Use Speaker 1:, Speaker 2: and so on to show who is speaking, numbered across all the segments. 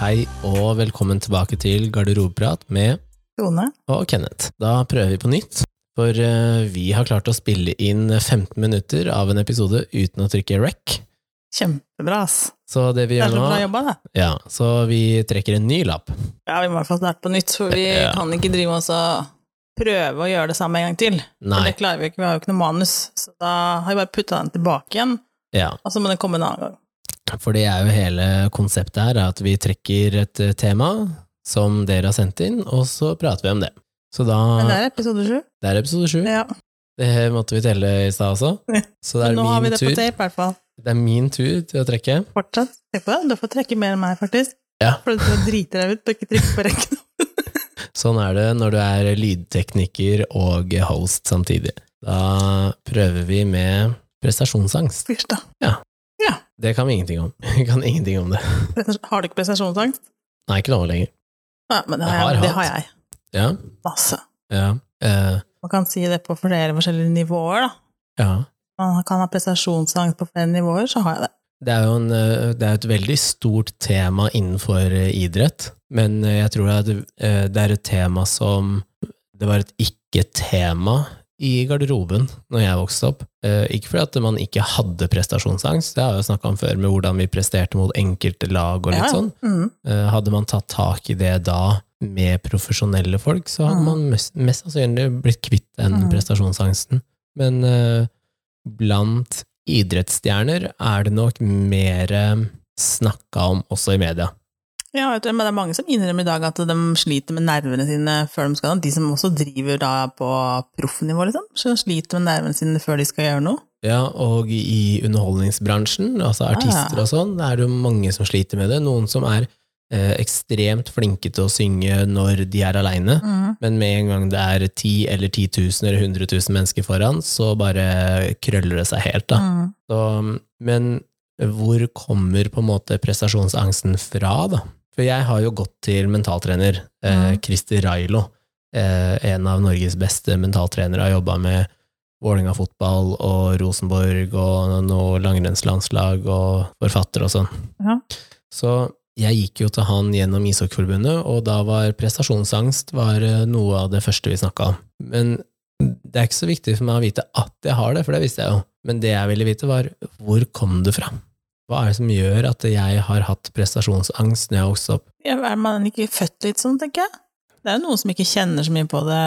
Speaker 1: Hei og velkommen tilbake til Garderobeprat med
Speaker 2: Tone.
Speaker 1: og Kenneth. Da prøver vi på nytt, for eh, vi har klart å spille inn 15 minutter av en episode uten å trykke rec.
Speaker 2: Kjempebra, ass.
Speaker 1: Så det vi
Speaker 2: Det er
Speaker 1: gjør
Speaker 2: så
Speaker 1: nå,
Speaker 2: bra jobba, det.
Speaker 1: ja, så vi trekker en ny lapp.
Speaker 2: Ja, vi må i hvert fall starte på nytt, for vi
Speaker 1: Ja.
Speaker 2: kan ikke drive oss og prøve å gjøre det samme en gang til. For
Speaker 1: Nei,
Speaker 2: Det klarer vi ikke, vi har jo ikke noe manus. Så da har vi bare putta den tilbake igjen,
Speaker 1: ja,
Speaker 2: og så må den komme en annen gang.
Speaker 1: for det er jo hele konseptet her, at vi trekker et eh, tema som dere har sendt inn, og så prater vi om det. Så da,
Speaker 2: Men det er episode sju.
Speaker 1: det er episode 7.
Speaker 2: Ja.
Speaker 1: Det måtte vi telle i stad også.
Speaker 2: Ja.
Speaker 1: Så det
Speaker 2: Men
Speaker 1: er
Speaker 2: nå har vi
Speaker 1: min
Speaker 2: det
Speaker 1: tur.
Speaker 2: på tape, i hvert fall.
Speaker 1: Det er min tur til å trekke.
Speaker 2: Fortsatt. Tenk på det. Du får trekke mer enn meg, faktisk.
Speaker 1: Ja.
Speaker 2: For du driter deg ut på ikke å trykke på rekken.
Speaker 1: Sånn er det når du er lydtekniker og host samtidig. Da prøver vi med prestasjonsangst.
Speaker 2: Fyrst, da.
Speaker 1: Det kan vi ingenting om. Vi kan ingenting om det.
Speaker 2: Prestasjon- Har du ikke prestasjonsangst?
Speaker 1: Nei, ikke nå lenger.
Speaker 2: Ja, men det har
Speaker 1: Jeg har
Speaker 2: jeg. Det
Speaker 1: hatt.
Speaker 2: har jeg.
Speaker 1: Ja,
Speaker 2: Masse.
Speaker 1: ja, eh,
Speaker 2: Man kan si det på flere forskjellige nivåer, da.
Speaker 1: ja.
Speaker 2: Man kan ha prestasjonsangst på flere nivåer, så har jeg det.
Speaker 1: Det er jo en, eh, det er et veldig stort tema innenfor eh, idrett, men eh, jeg tror at det eh, det er et tema som Det var et ikke-tema i garderoben når jeg vokste opp. Eh, Ikke fordi at man ikke hadde prestasjonsangst, det har jeg jo snakka om før, med hvordan vi presterte mot enkelte lag og litt
Speaker 2: Ja, ja.
Speaker 1: sånn.
Speaker 2: Mm.
Speaker 1: Eh, Hadde man tatt tak i det da med profesjonelle folk, så hadde
Speaker 2: Mhm.
Speaker 1: man mest, mest sannsynlig blitt kvitt den
Speaker 2: Mhm.
Speaker 1: prestasjonsangsten. Men eh, blant idrettsstjerner er det nok mer eh, snakka om også i media.
Speaker 2: Ja, vet du, men det er mange som innrømmer i dag at de sliter med nervene sine før de skal De som også driver da på proffnivå, liksom. Så sliter med nervene sine før de skal gjøre noe.
Speaker 1: Ja, og i underholdningsbransjen, altså artister og sånn, er det jo mange som sliter med det. Noen som er eh, ekstremt flinke til å synge når de er aleine.
Speaker 2: Mm,
Speaker 1: Men med en gang det er 10 eller 10 000 eller 100 000 mennesker foran, så bare krøller det seg helt, da.
Speaker 2: Mm.
Speaker 1: Så, men hvor kommer på en måte prestasjonsangsten fra, da? For jeg har jo gått til mentaltrener, eh,
Speaker 2: Mhm.
Speaker 1: Christer Railo, eh, en av Norges beste mentaltrenere, har jobba med Vålerenga fotball og Rosenborg og noe langrennslandslag og forfatter og sånn.
Speaker 2: Ja.
Speaker 1: Så jeg gikk jo til han gjennom Ishockeyforbundet, og da var prestasjonsangst var eh, noe av det første vi snakka om. Men det er ikke så viktig for meg å vite at jeg har det, for det visste jeg jo. Men det jeg ville vite, var hvor kom det fra? Hva er det som gjør at jeg har hatt prestasjonsangst når jeg vokste opp?
Speaker 2: Ja, er man ikke født litt sånn, tenker jeg? Det er jo noen som ikke kjenner så mye på det,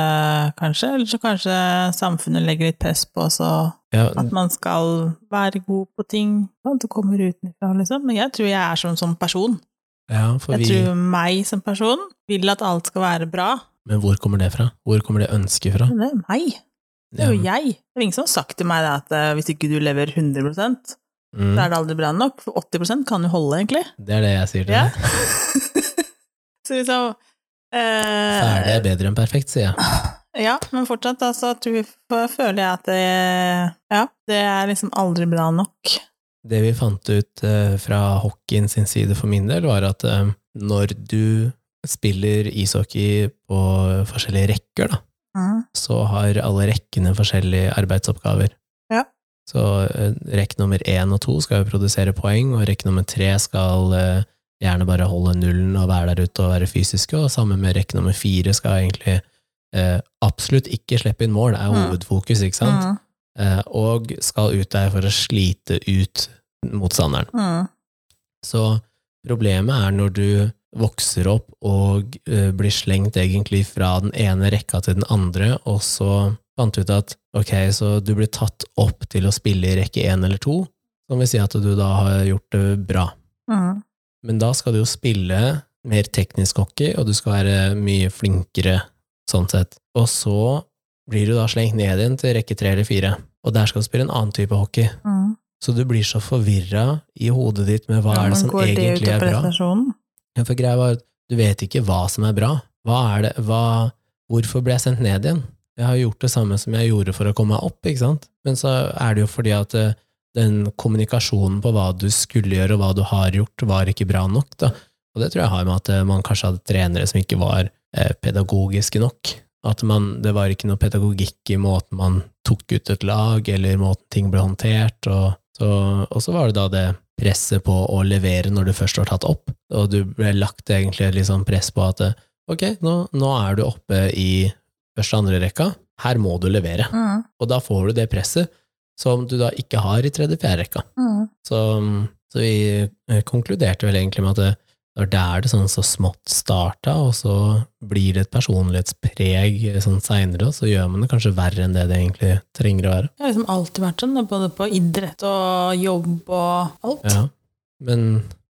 Speaker 2: kanskje. Eller så kanskje samfunnet legger litt press på oss, og
Speaker 1: Ja,
Speaker 2: at man skal være god på ting. At du kommer utenfra, liksom. Men jeg tror jeg er som sånn person.
Speaker 1: ja, for
Speaker 2: Jeg
Speaker 1: vi,
Speaker 2: tror meg som person vil at alt skal være bra.
Speaker 1: men hvor kommer det fra? Hvor kommer det ønsket fra?
Speaker 2: Men det er meg. Det er jo jeg. Det er ingen som har sagt til meg det at eh, hvis ikke du lever 100 så
Speaker 1: Mm,
Speaker 2: er det aldri bra nok. For 80 kan jo holde, egentlig.
Speaker 1: det er det jeg sier til
Speaker 2: Ja.
Speaker 1: deg.
Speaker 2: så liksom
Speaker 1: Ferdig
Speaker 2: eh,
Speaker 1: er bedre enn perfekt, sier jeg.
Speaker 2: Ja, men fortsatt, da, så tror, f- føler jeg at det, ja, det er liksom aldri bra nok.
Speaker 1: Det vi fant ut eh, fra hockeyen sin side for min del, var at eh, når du spiller ishockey på forskjellige rekker, da,
Speaker 2: Mm.
Speaker 1: så har alle rekkene forskjellige arbeidsoppgaver.
Speaker 2: Ja.
Speaker 1: Så eh, rekk nummer én og to skal jo produsere poeng, og rekk nummer tre skal eh, gjerne bare holde nullen og være der ute og være fysiske, og sammen med rekk nummer fire skal egentlig eh, absolutt ikke slippe inn mål, er
Speaker 2: Mm.
Speaker 1: hovedfokus, ikke sant?
Speaker 2: Mm.
Speaker 1: Eh, og skal ut der for å slite ut motstanderen.
Speaker 2: Mm.
Speaker 1: Så problemet er når du vokser opp og eh, blir slengt egentlig fra den ene rekka til den andre, og så fant du ut at ok, så du blir tatt opp til å spille i rekke én eller to, som vil si at du da har gjort det bra.
Speaker 2: Mm.
Speaker 1: Men da skal du jo spille mer teknisk hockey, og du skal være mye flinkere sånn sett. Og så blir du da slengt ned igjen til rekke tre eller fire, og der skal du spille en annen type hockey.
Speaker 2: Mm.
Speaker 1: Så du blir så forvirra i hodet ditt med hva
Speaker 2: Ja,
Speaker 1: er det
Speaker 2: men
Speaker 1: som
Speaker 2: går det
Speaker 1: egentlig
Speaker 2: utover
Speaker 1: er bra.
Speaker 2: prestasjonen?
Speaker 1: Ja, for greia var at du vet ikke hva som er bra. Hva er det, hva, hvorfor ble jeg sendt ned igjen? Jeg har gjort det samme som jeg gjorde for å komme meg opp, ikke sant? Men så er det jo fordi at eh, den kommunikasjonen på hva du skulle gjøre og hva du har gjort, var ikke bra nok, da. Og det tror jeg har med at eh, man kanskje hadde trenere som ikke var eh, pedagogiske nok. At man, det var ikke noe pedagogikk i måten man tok ut et lag, eller måten ting ble håndtert, og så, og så var det da det presset på å levere når du først har tatt opp, og du ble lagt egentlig litt sånn press på at eh, ok, nå, nå er du oppe i første og andre rekka, her må du levere.
Speaker 2: Mm.
Speaker 1: Og da får du det presset som du da ikke har i tredje, fjerde rekka.
Speaker 2: Mm.
Speaker 1: Så, så vi eh, konkluderte vel egentlig med at det det var der det sånn så smått starta, og så blir det et personlighetspreg eh, sånn seinere, og så gjør man det kanskje verre enn det det egentlig trenger å være.
Speaker 2: Jeg har liksom alltid vært sånn, både på idrett og jobb og alt.
Speaker 1: Ja. Men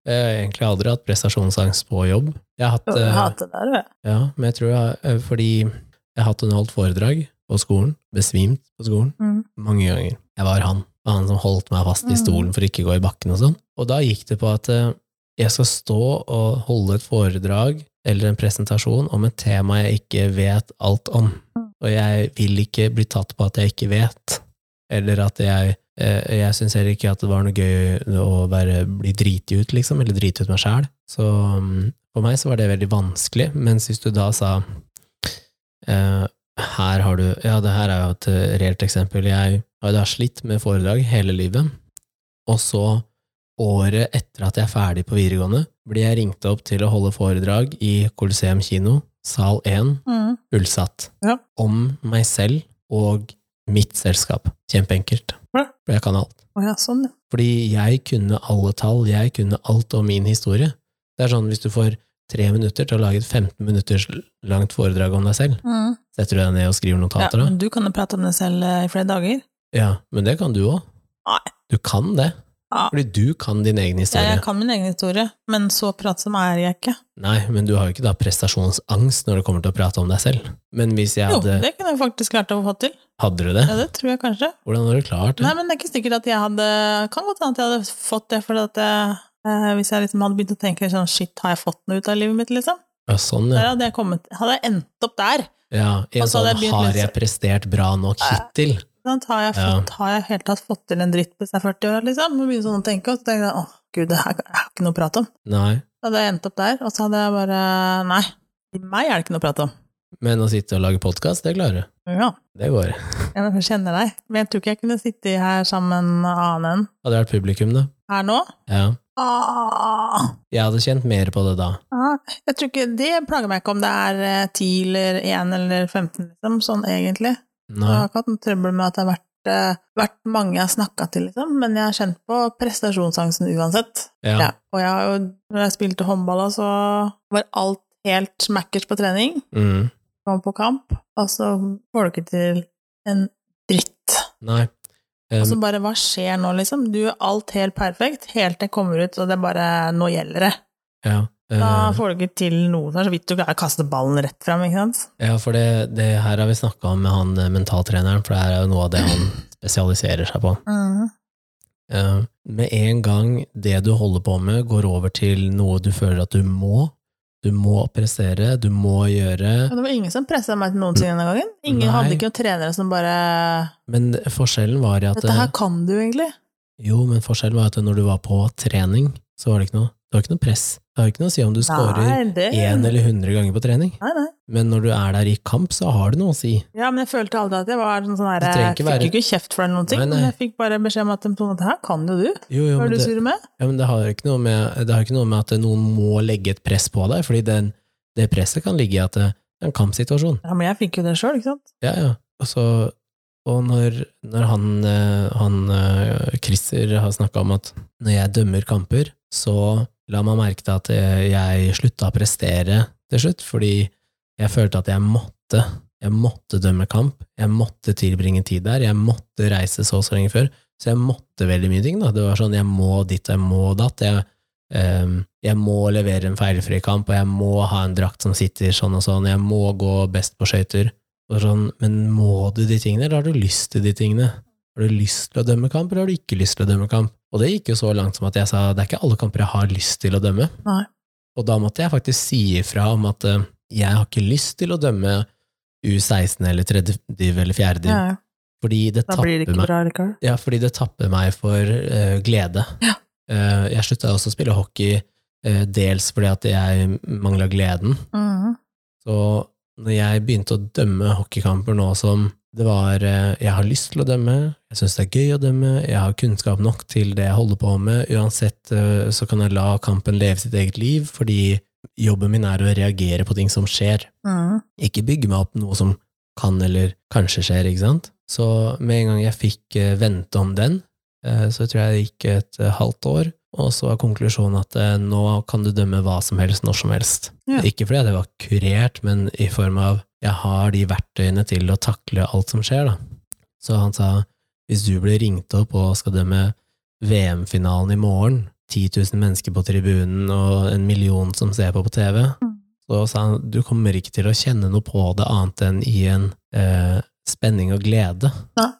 Speaker 1: jeg har egentlig aldri hatt prestasjonsangst på jobb. Jeg har hatt,
Speaker 2: Jeg
Speaker 1: eh,
Speaker 2: hater det der, du.
Speaker 1: ja, men jeg tror jeg, eh, fordi jeg har hatt en holdt foredrag på skolen, besvimt på skolen,
Speaker 2: Mm.
Speaker 1: mange ganger. Jeg var han. Det var han som holdt meg fast i stolen for ikke å gå i bakken og sånn. Og da gikk det på at eh, jeg skal stå og holde et foredrag eller en presentasjon om et tema jeg ikke vet alt om. Og jeg vil ikke bli tatt på at jeg ikke vet, eller at jeg eh, jeg syns heller ikke at det var noe gøy å være, bli driti ut, liksom, eller drite ut meg sjæl. Så mm, for meg så var det veldig vanskelig, mens hvis du da sa eh, her har du Ja, det her er jo et eh, reelt eksempel. Jeg har jo da slitt med foredrag hele livet, og så Året etter at jeg er ferdig på videregående, blir jeg ringt opp til å holde foredrag i Coliseum kino, sal 1,
Speaker 2: Mm.
Speaker 1: fullsatt,
Speaker 2: Ja.
Speaker 1: om meg selv og mitt selskap. Kjempeenkelt.
Speaker 2: Ja.
Speaker 1: For jeg kan alt.
Speaker 2: Å ja, sånn, ja.
Speaker 1: Fordi jeg kunne alle tall, jeg kunne alt om min historie. Det er sånn hvis du får tre minutter til å lage et 15 minutters langt foredrag om deg selv,
Speaker 2: Mm.
Speaker 1: setter du deg ned og skriver
Speaker 2: ja.
Speaker 1: notater da?
Speaker 2: men Du kan jo prate om det selv eh, i flere dager.
Speaker 1: Ja, men det kan du òg.
Speaker 2: Nei.
Speaker 1: Du kan det.
Speaker 2: Ja.
Speaker 1: Fordi du kan din egen
Speaker 2: Ja,
Speaker 1: historie.
Speaker 2: jeg kan min egen historie, men så pratsom er jeg ikke.
Speaker 1: Nei, men du har jo ikke da prestasjonsangst når det kommer til å prate om deg selv. Men hvis jeg
Speaker 2: Jo,
Speaker 1: hadde
Speaker 2: det kunne jeg faktisk klart å få til.
Speaker 1: Hadde du det?
Speaker 2: Ja, det tror jeg kanskje.
Speaker 1: Hvordan har du klart det?
Speaker 2: Nei, men det er ikke sikkert at jeg hadde Kan godt hende at jeg hadde fått det, for at jeg, eh, hvis jeg liksom hadde begynt å tenke sånn Shit, har jeg fått noe ut av livet mitt, liksom?
Speaker 1: Ja, sånn,
Speaker 2: Der
Speaker 1: ja.
Speaker 2: hadde jeg kommet Hadde jeg endt opp der?
Speaker 1: ja i en
Speaker 2: Og så
Speaker 1: sånn
Speaker 2: hadde jeg begynt
Speaker 1: Har
Speaker 2: med-
Speaker 1: jeg prestert bra nok hittil?
Speaker 2: Sant? Har jeg,
Speaker 1: Ja.
Speaker 2: fått, har jeg helt tatt fått til en dritt hvis jeg er 40 år, liksom? Og begynner sånn å tenke, og så tenker jeg åh, gud, det her er ikke noe å prate om.
Speaker 1: Nei.
Speaker 2: Da hadde jeg endt opp der, og så hadde jeg bare Nei, i meg er det ikke noe å prate om.
Speaker 1: Men å sitte og lage podkast, det klarer du.
Speaker 2: Ja,
Speaker 1: Det går.
Speaker 2: jeg kjenner deg. Men jeg tror ikke jeg kunne sittet her sammen annen enn
Speaker 1: Hadde vært publikum, det.
Speaker 2: her nå.
Speaker 1: Ja.
Speaker 2: Ah,
Speaker 1: Jeg hadde kjent mer på det da.
Speaker 2: ah, jeg tror ikke, Det plager meg ikke om det er eh, 10 eller 1 eller 15, liksom, sånn egentlig. Jeg
Speaker 1: Nei.
Speaker 2: har ikke hatt noe trøbbel med at det har vært, eh, vært mange jeg har snakka til, liksom, men jeg har kjent på prestasjonsangsten uansett.
Speaker 1: Ja.
Speaker 2: Ja. Og jeg har jo, når jeg spilte håndball, så var alt helt smackers på trening.
Speaker 1: Mm.
Speaker 2: Kom på kamp, og så får du ikke til en dritt.
Speaker 1: Nei.
Speaker 2: Og
Speaker 1: Um,
Speaker 2: så bare, hva skjer nå, liksom? Du gjør alt helt perfekt, helt til jeg kommer ut, og det er bare, nå gjelder det.
Speaker 1: ja.
Speaker 2: Da
Speaker 1: Uh,
Speaker 2: får du ikke til noe, det er så vidt du klarer å kaste ballen rett frem, ikke sant?
Speaker 1: ja, for det, det her har vi snakka om med han eh, mentaltreneren, for det her er jo noe av det han spesialiserer seg på.
Speaker 2: Mhm.
Speaker 1: Eh, med en gang det du holder på med går over til noe du føler at du må, du må prestere, du må gjøre,
Speaker 2: Og det var ingen som presset meg til noen ting denne gangen. Ingen
Speaker 1: Nei.
Speaker 2: hadde ikke noen trenere som bare,
Speaker 1: men forskjellen var i at eh,
Speaker 2: dette her kan du egentlig.
Speaker 1: jo, men forskjellen var at når du var på trening, så var det ikke noe, det var ikke noe press. Det har ikke noe å si om du scorer
Speaker 2: Nei, det...
Speaker 1: én eller hundre ganger på trening,
Speaker 2: Nei, nei.
Speaker 1: men når du er der i kamp, så har det noe å si.
Speaker 2: Ja, men jeg følte aldri at jeg var sånn sånn her,
Speaker 1: Det trenger
Speaker 2: jeg
Speaker 1: ikke
Speaker 2: fikk
Speaker 1: være-
Speaker 2: ikke kjeft for noen ting,
Speaker 1: Nei, nei.
Speaker 2: men jeg fikk bare beskjed om at sånn, dette her kan jo du.
Speaker 1: Jo, jo,
Speaker 2: Hva
Speaker 1: men
Speaker 2: er du
Speaker 1: det,
Speaker 2: sur med?
Speaker 1: ja, men det har ikke noe med, det har ikke noe med at noen må legge et press på deg, fordi den, det presset kan ligge i at eh, det er en kampsituasjon.
Speaker 2: Ja, men jeg fikk jo det selv, ikke sant?
Speaker 1: Ja, ja. Og, så, og når, når han, eh, han eh, Christer har snakka om at når jeg dømmer kamper, så la meg merke til at eh, jeg slutta å prestere til slutt, fordi jeg følte at jeg måtte. Jeg måtte dømme kamp, jeg måtte tilbringe tid der, jeg måtte reise så og så lenge før. Så jeg måtte veldig mye ting. Da. Det var sånn jeg må ditt, jeg må datt. Jeg, ehm, jeg må levere en feilfri kamp, og jeg må ha en drakt som sitter sånn og sånn. Jeg må gå best på skøyter. Og sånn, men må du de tingene, eller har du lyst til de tingene? Har du lyst til å dømme kamp, eller har du ikke lyst til å dømme kamp? Og det gikk jo så langt som at jeg sa det er ikke alle kamper jeg har lyst til å dømme.
Speaker 2: Nei.
Speaker 1: Og da måtte jeg faktisk si ifra om at eh, jeg har ikke lyst til å dømme U16 eller tredje div eller fjerde div,
Speaker 2: Ja, ja.
Speaker 1: fordi det
Speaker 2: da blir
Speaker 1: tapper
Speaker 2: det ikke
Speaker 1: meg.
Speaker 2: bra likevel.
Speaker 1: Ja, fordi det tapper meg for eh, glede.
Speaker 2: Ja.
Speaker 1: Eh, jeg slutta også å spille hockey eh, dels fordi at jeg mangla gleden.
Speaker 2: Mhm.
Speaker 1: Så når jeg begynte å dømme hockeykamper nå som Det var eh, Jeg har lyst til å dømme, jeg syns det er gøy å dømme, jeg har kunnskap nok til det jeg holder på med. Uansett eh, så kan jeg la kampen leve sitt eget liv, fordi jobben min er å reagere på ting som skjer.
Speaker 2: Mm.
Speaker 1: Ikke bygge meg opp noe som kan eller kanskje skjer, ikke sant? Så med en gang jeg fikk eh, vente om den, eh, så tror jeg det gikk et eh, halvt år, og så var konklusjonen at eh, nå kan du dømme hva som helst, når som helst.
Speaker 2: Ja.
Speaker 1: Ikke fordi det var kurert, men i form av jeg har de verktøyene til å takle alt som skjer, da. Så han sa, hvis du blir ringt opp og skal dømme VM-finalen i morgen, 10 000 mennesker på tribunen og en million som ser på på TV,
Speaker 2: Mm.
Speaker 1: så sa han du kommer ikke til å kjenne noe på det annet enn i en eh, spenning og glede.
Speaker 2: Ja.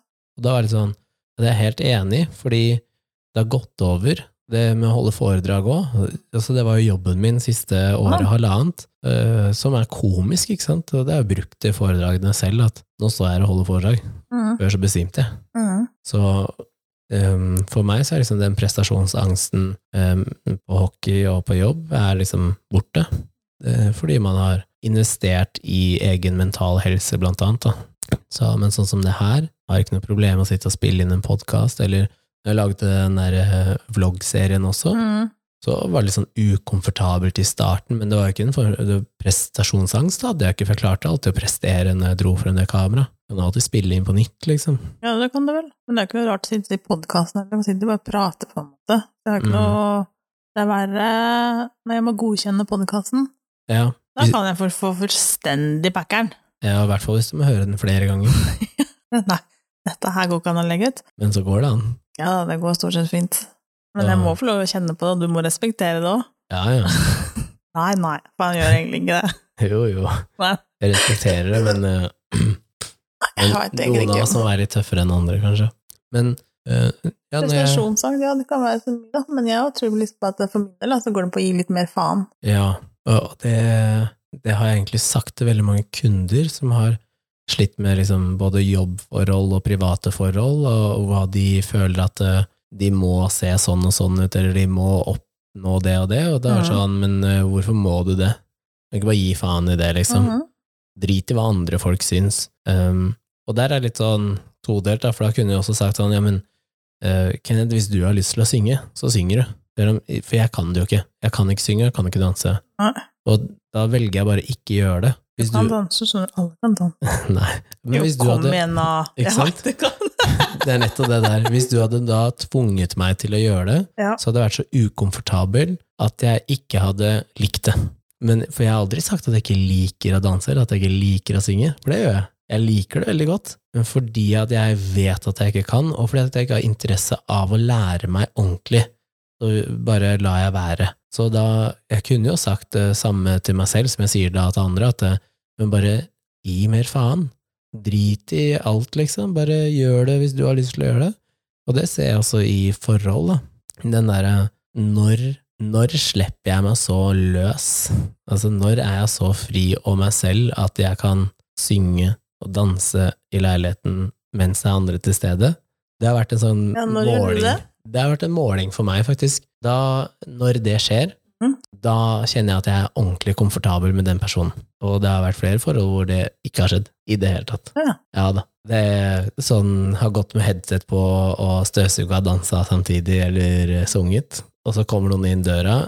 Speaker 1: Og da var det litt sånn, det er jeg helt enig i, fordi det har gått over, det med å holde foredrag òg. Altså, det var jo jobben min siste året,
Speaker 2: Ja.
Speaker 1: halvannet, eh, som er komisk, ikke sant. Og det er jo brukt i foredragene selv, at nå står jeg her og holder foredrag.
Speaker 2: Mm.
Speaker 1: Før så besvimte jeg.
Speaker 2: Mm.
Speaker 1: Så ehm, for meg så er liksom den prestasjonsangsten ehm, på hockey og på jobb er liksom borte. Eh, fordi man har investert i egen mental helse, blant annet. Da. Så, men sånn som det her, har jeg ikke noe problem med å sitte og spille inn en podkast, eller når jeg lagde den der eh, vloggserien også,
Speaker 2: Mm.
Speaker 1: så var det litt sånn ukomfortabelt i starten, men det var jo ikke en for, det var prestasjonsangst, da hadde jeg ikke forklart alltid å prestere når jeg dro frem det kameraet. Kan alltid spille inn på nytt, liksom.
Speaker 2: Ja, det kan det vel. Men det er ikke noe rart å sitte i podkasten eller man sitter bare og prater, på en måte. Det er ikke
Speaker 1: Mm.
Speaker 2: noe Det er verre når jeg må godkjenne podkasten.
Speaker 1: Ja.
Speaker 2: Da kan jeg få, få fullstendig packeren.
Speaker 1: Ja, i hvert fall hvis du må høre den flere ganger.
Speaker 2: Nei, dette her går ikke an å legge ut.
Speaker 1: Men så går det an.
Speaker 2: Ja, det går stort sett fint. Men jeg
Speaker 1: Ja.
Speaker 2: må få lov å kjenne på det, og du må respektere det òg.
Speaker 1: Ja, ja.
Speaker 2: Nei, nei, faen gjør egentlig ikke det.
Speaker 1: Jo, jo.
Speaker 2: Nei.
Speaker 1: Jeg respekterer det, men eh,
Speaker 2: Jeg
Speaker 1: men
Speaker 2: vet
Speaker 1: noen
Speaker 2: egentlig
Speaker 1: av
Speaker 2: ikke.
Speaker 1: oss som er litt tøffere enn andre, kanskje. Men eh, ja, når jeg,
Speaker 2: Prestasjonsangst, ja, det kan være for mye, da. Men jeg tror liksom på at for min del da, så går det på å gi litt mer faen.
Speaker 1: ja og det, det har jeg egentlig sagt til veldig mange kunder som har slitt med liksom både jobbforhold og private forhold, og, og hva de føler at eh, de må se sånn og sånn ut, eller de må oppnå det og det, og da er det
Speaker 2: Mhm.
Speaker 1: sånn, men eh, hvorfor må du det? Ikke bare gi faen i det, liksom.
Speaker 2: Mhm.
Speaker 1: drit i hva andre folk syns. Um, og der er litt sånn todelt, da, for da kunne jeg også sagt sånn, ja, men eh, Kenneth, hvis du har lyst til å synge, så synger du. Selv om- For jeg kan det jo ikke. Jeg kan ikke synge, jeg kan ikke danse.
Speaker 2: Nei.
Speaker 1: Og da velger jeg bare ikke gjøre det. Hvis
Speaker 2: Kan
Speaker 1: du,
Speaker 2: danse, skjønner du. Alle kan danse.
Speaker 1: nei, men
Speaker 2: Jo,
Speaker 1: hvis du
Speaker 2: kom
Speaker 1: hadde,
Speaker 2: igjen, da.
Speaker 1: Ikke
Speaker 2: Ja,
Speaker 1: sant?
Speaker 2: du kan.
Speaker 1: det er nettopp det der. Hvis du hadde da tvunget meg til å gjøre det,
Speaker 2: Ja.
Speaker 1: så hadde jeg vært så ukomfortabel at jeg ikke hadde likt det. Men, for jeg har aldri sagt at jeg ikke liker å danse, eller at jeg ikke liker å synge, for det gjør jeg. Jeg liker det veldig godt, men fordi at jeg vet at jeg ikke kan, og fordi at jeg ikke har interesse av å lære meg ordentlig, så bare lar jeg være. Så da, jeg kunne jo sagt det samme til meg selv som jeg sier da til andre, at eh, men bare gi mer faen. Drit i alt, liksom. Bare gjør det hvis du har lyst til å gjøre det. Og det ser jeg også i forhold, da den derre når, når slipper jeg meg så løs? Altså, når er jeg så fri og meg selv at jeg kan synge og danse i leiligheten mens det er andre til stede? Det har vært en sånn
Speaker 2: Ja, når gjør du
Speaker 1: måling.
Speaker 2: det?
Speaker 1: Det har vært en måling for meg, faktisk. Da, når det skjer,
Speaker 2: Mhm.
Speaker 1: da kjenner jeg at jeg er ordentlig komfortabel med den personen. Og det har vært flere forhold hvor det ikke har skjedd i det hele tatt.
Speaker 2: Ja.
Speaker 1: Ja da. Det er sånn har gått med headset på og støvsuga dansa samtidig eller eh, sunget, og så kommer noen inn døra,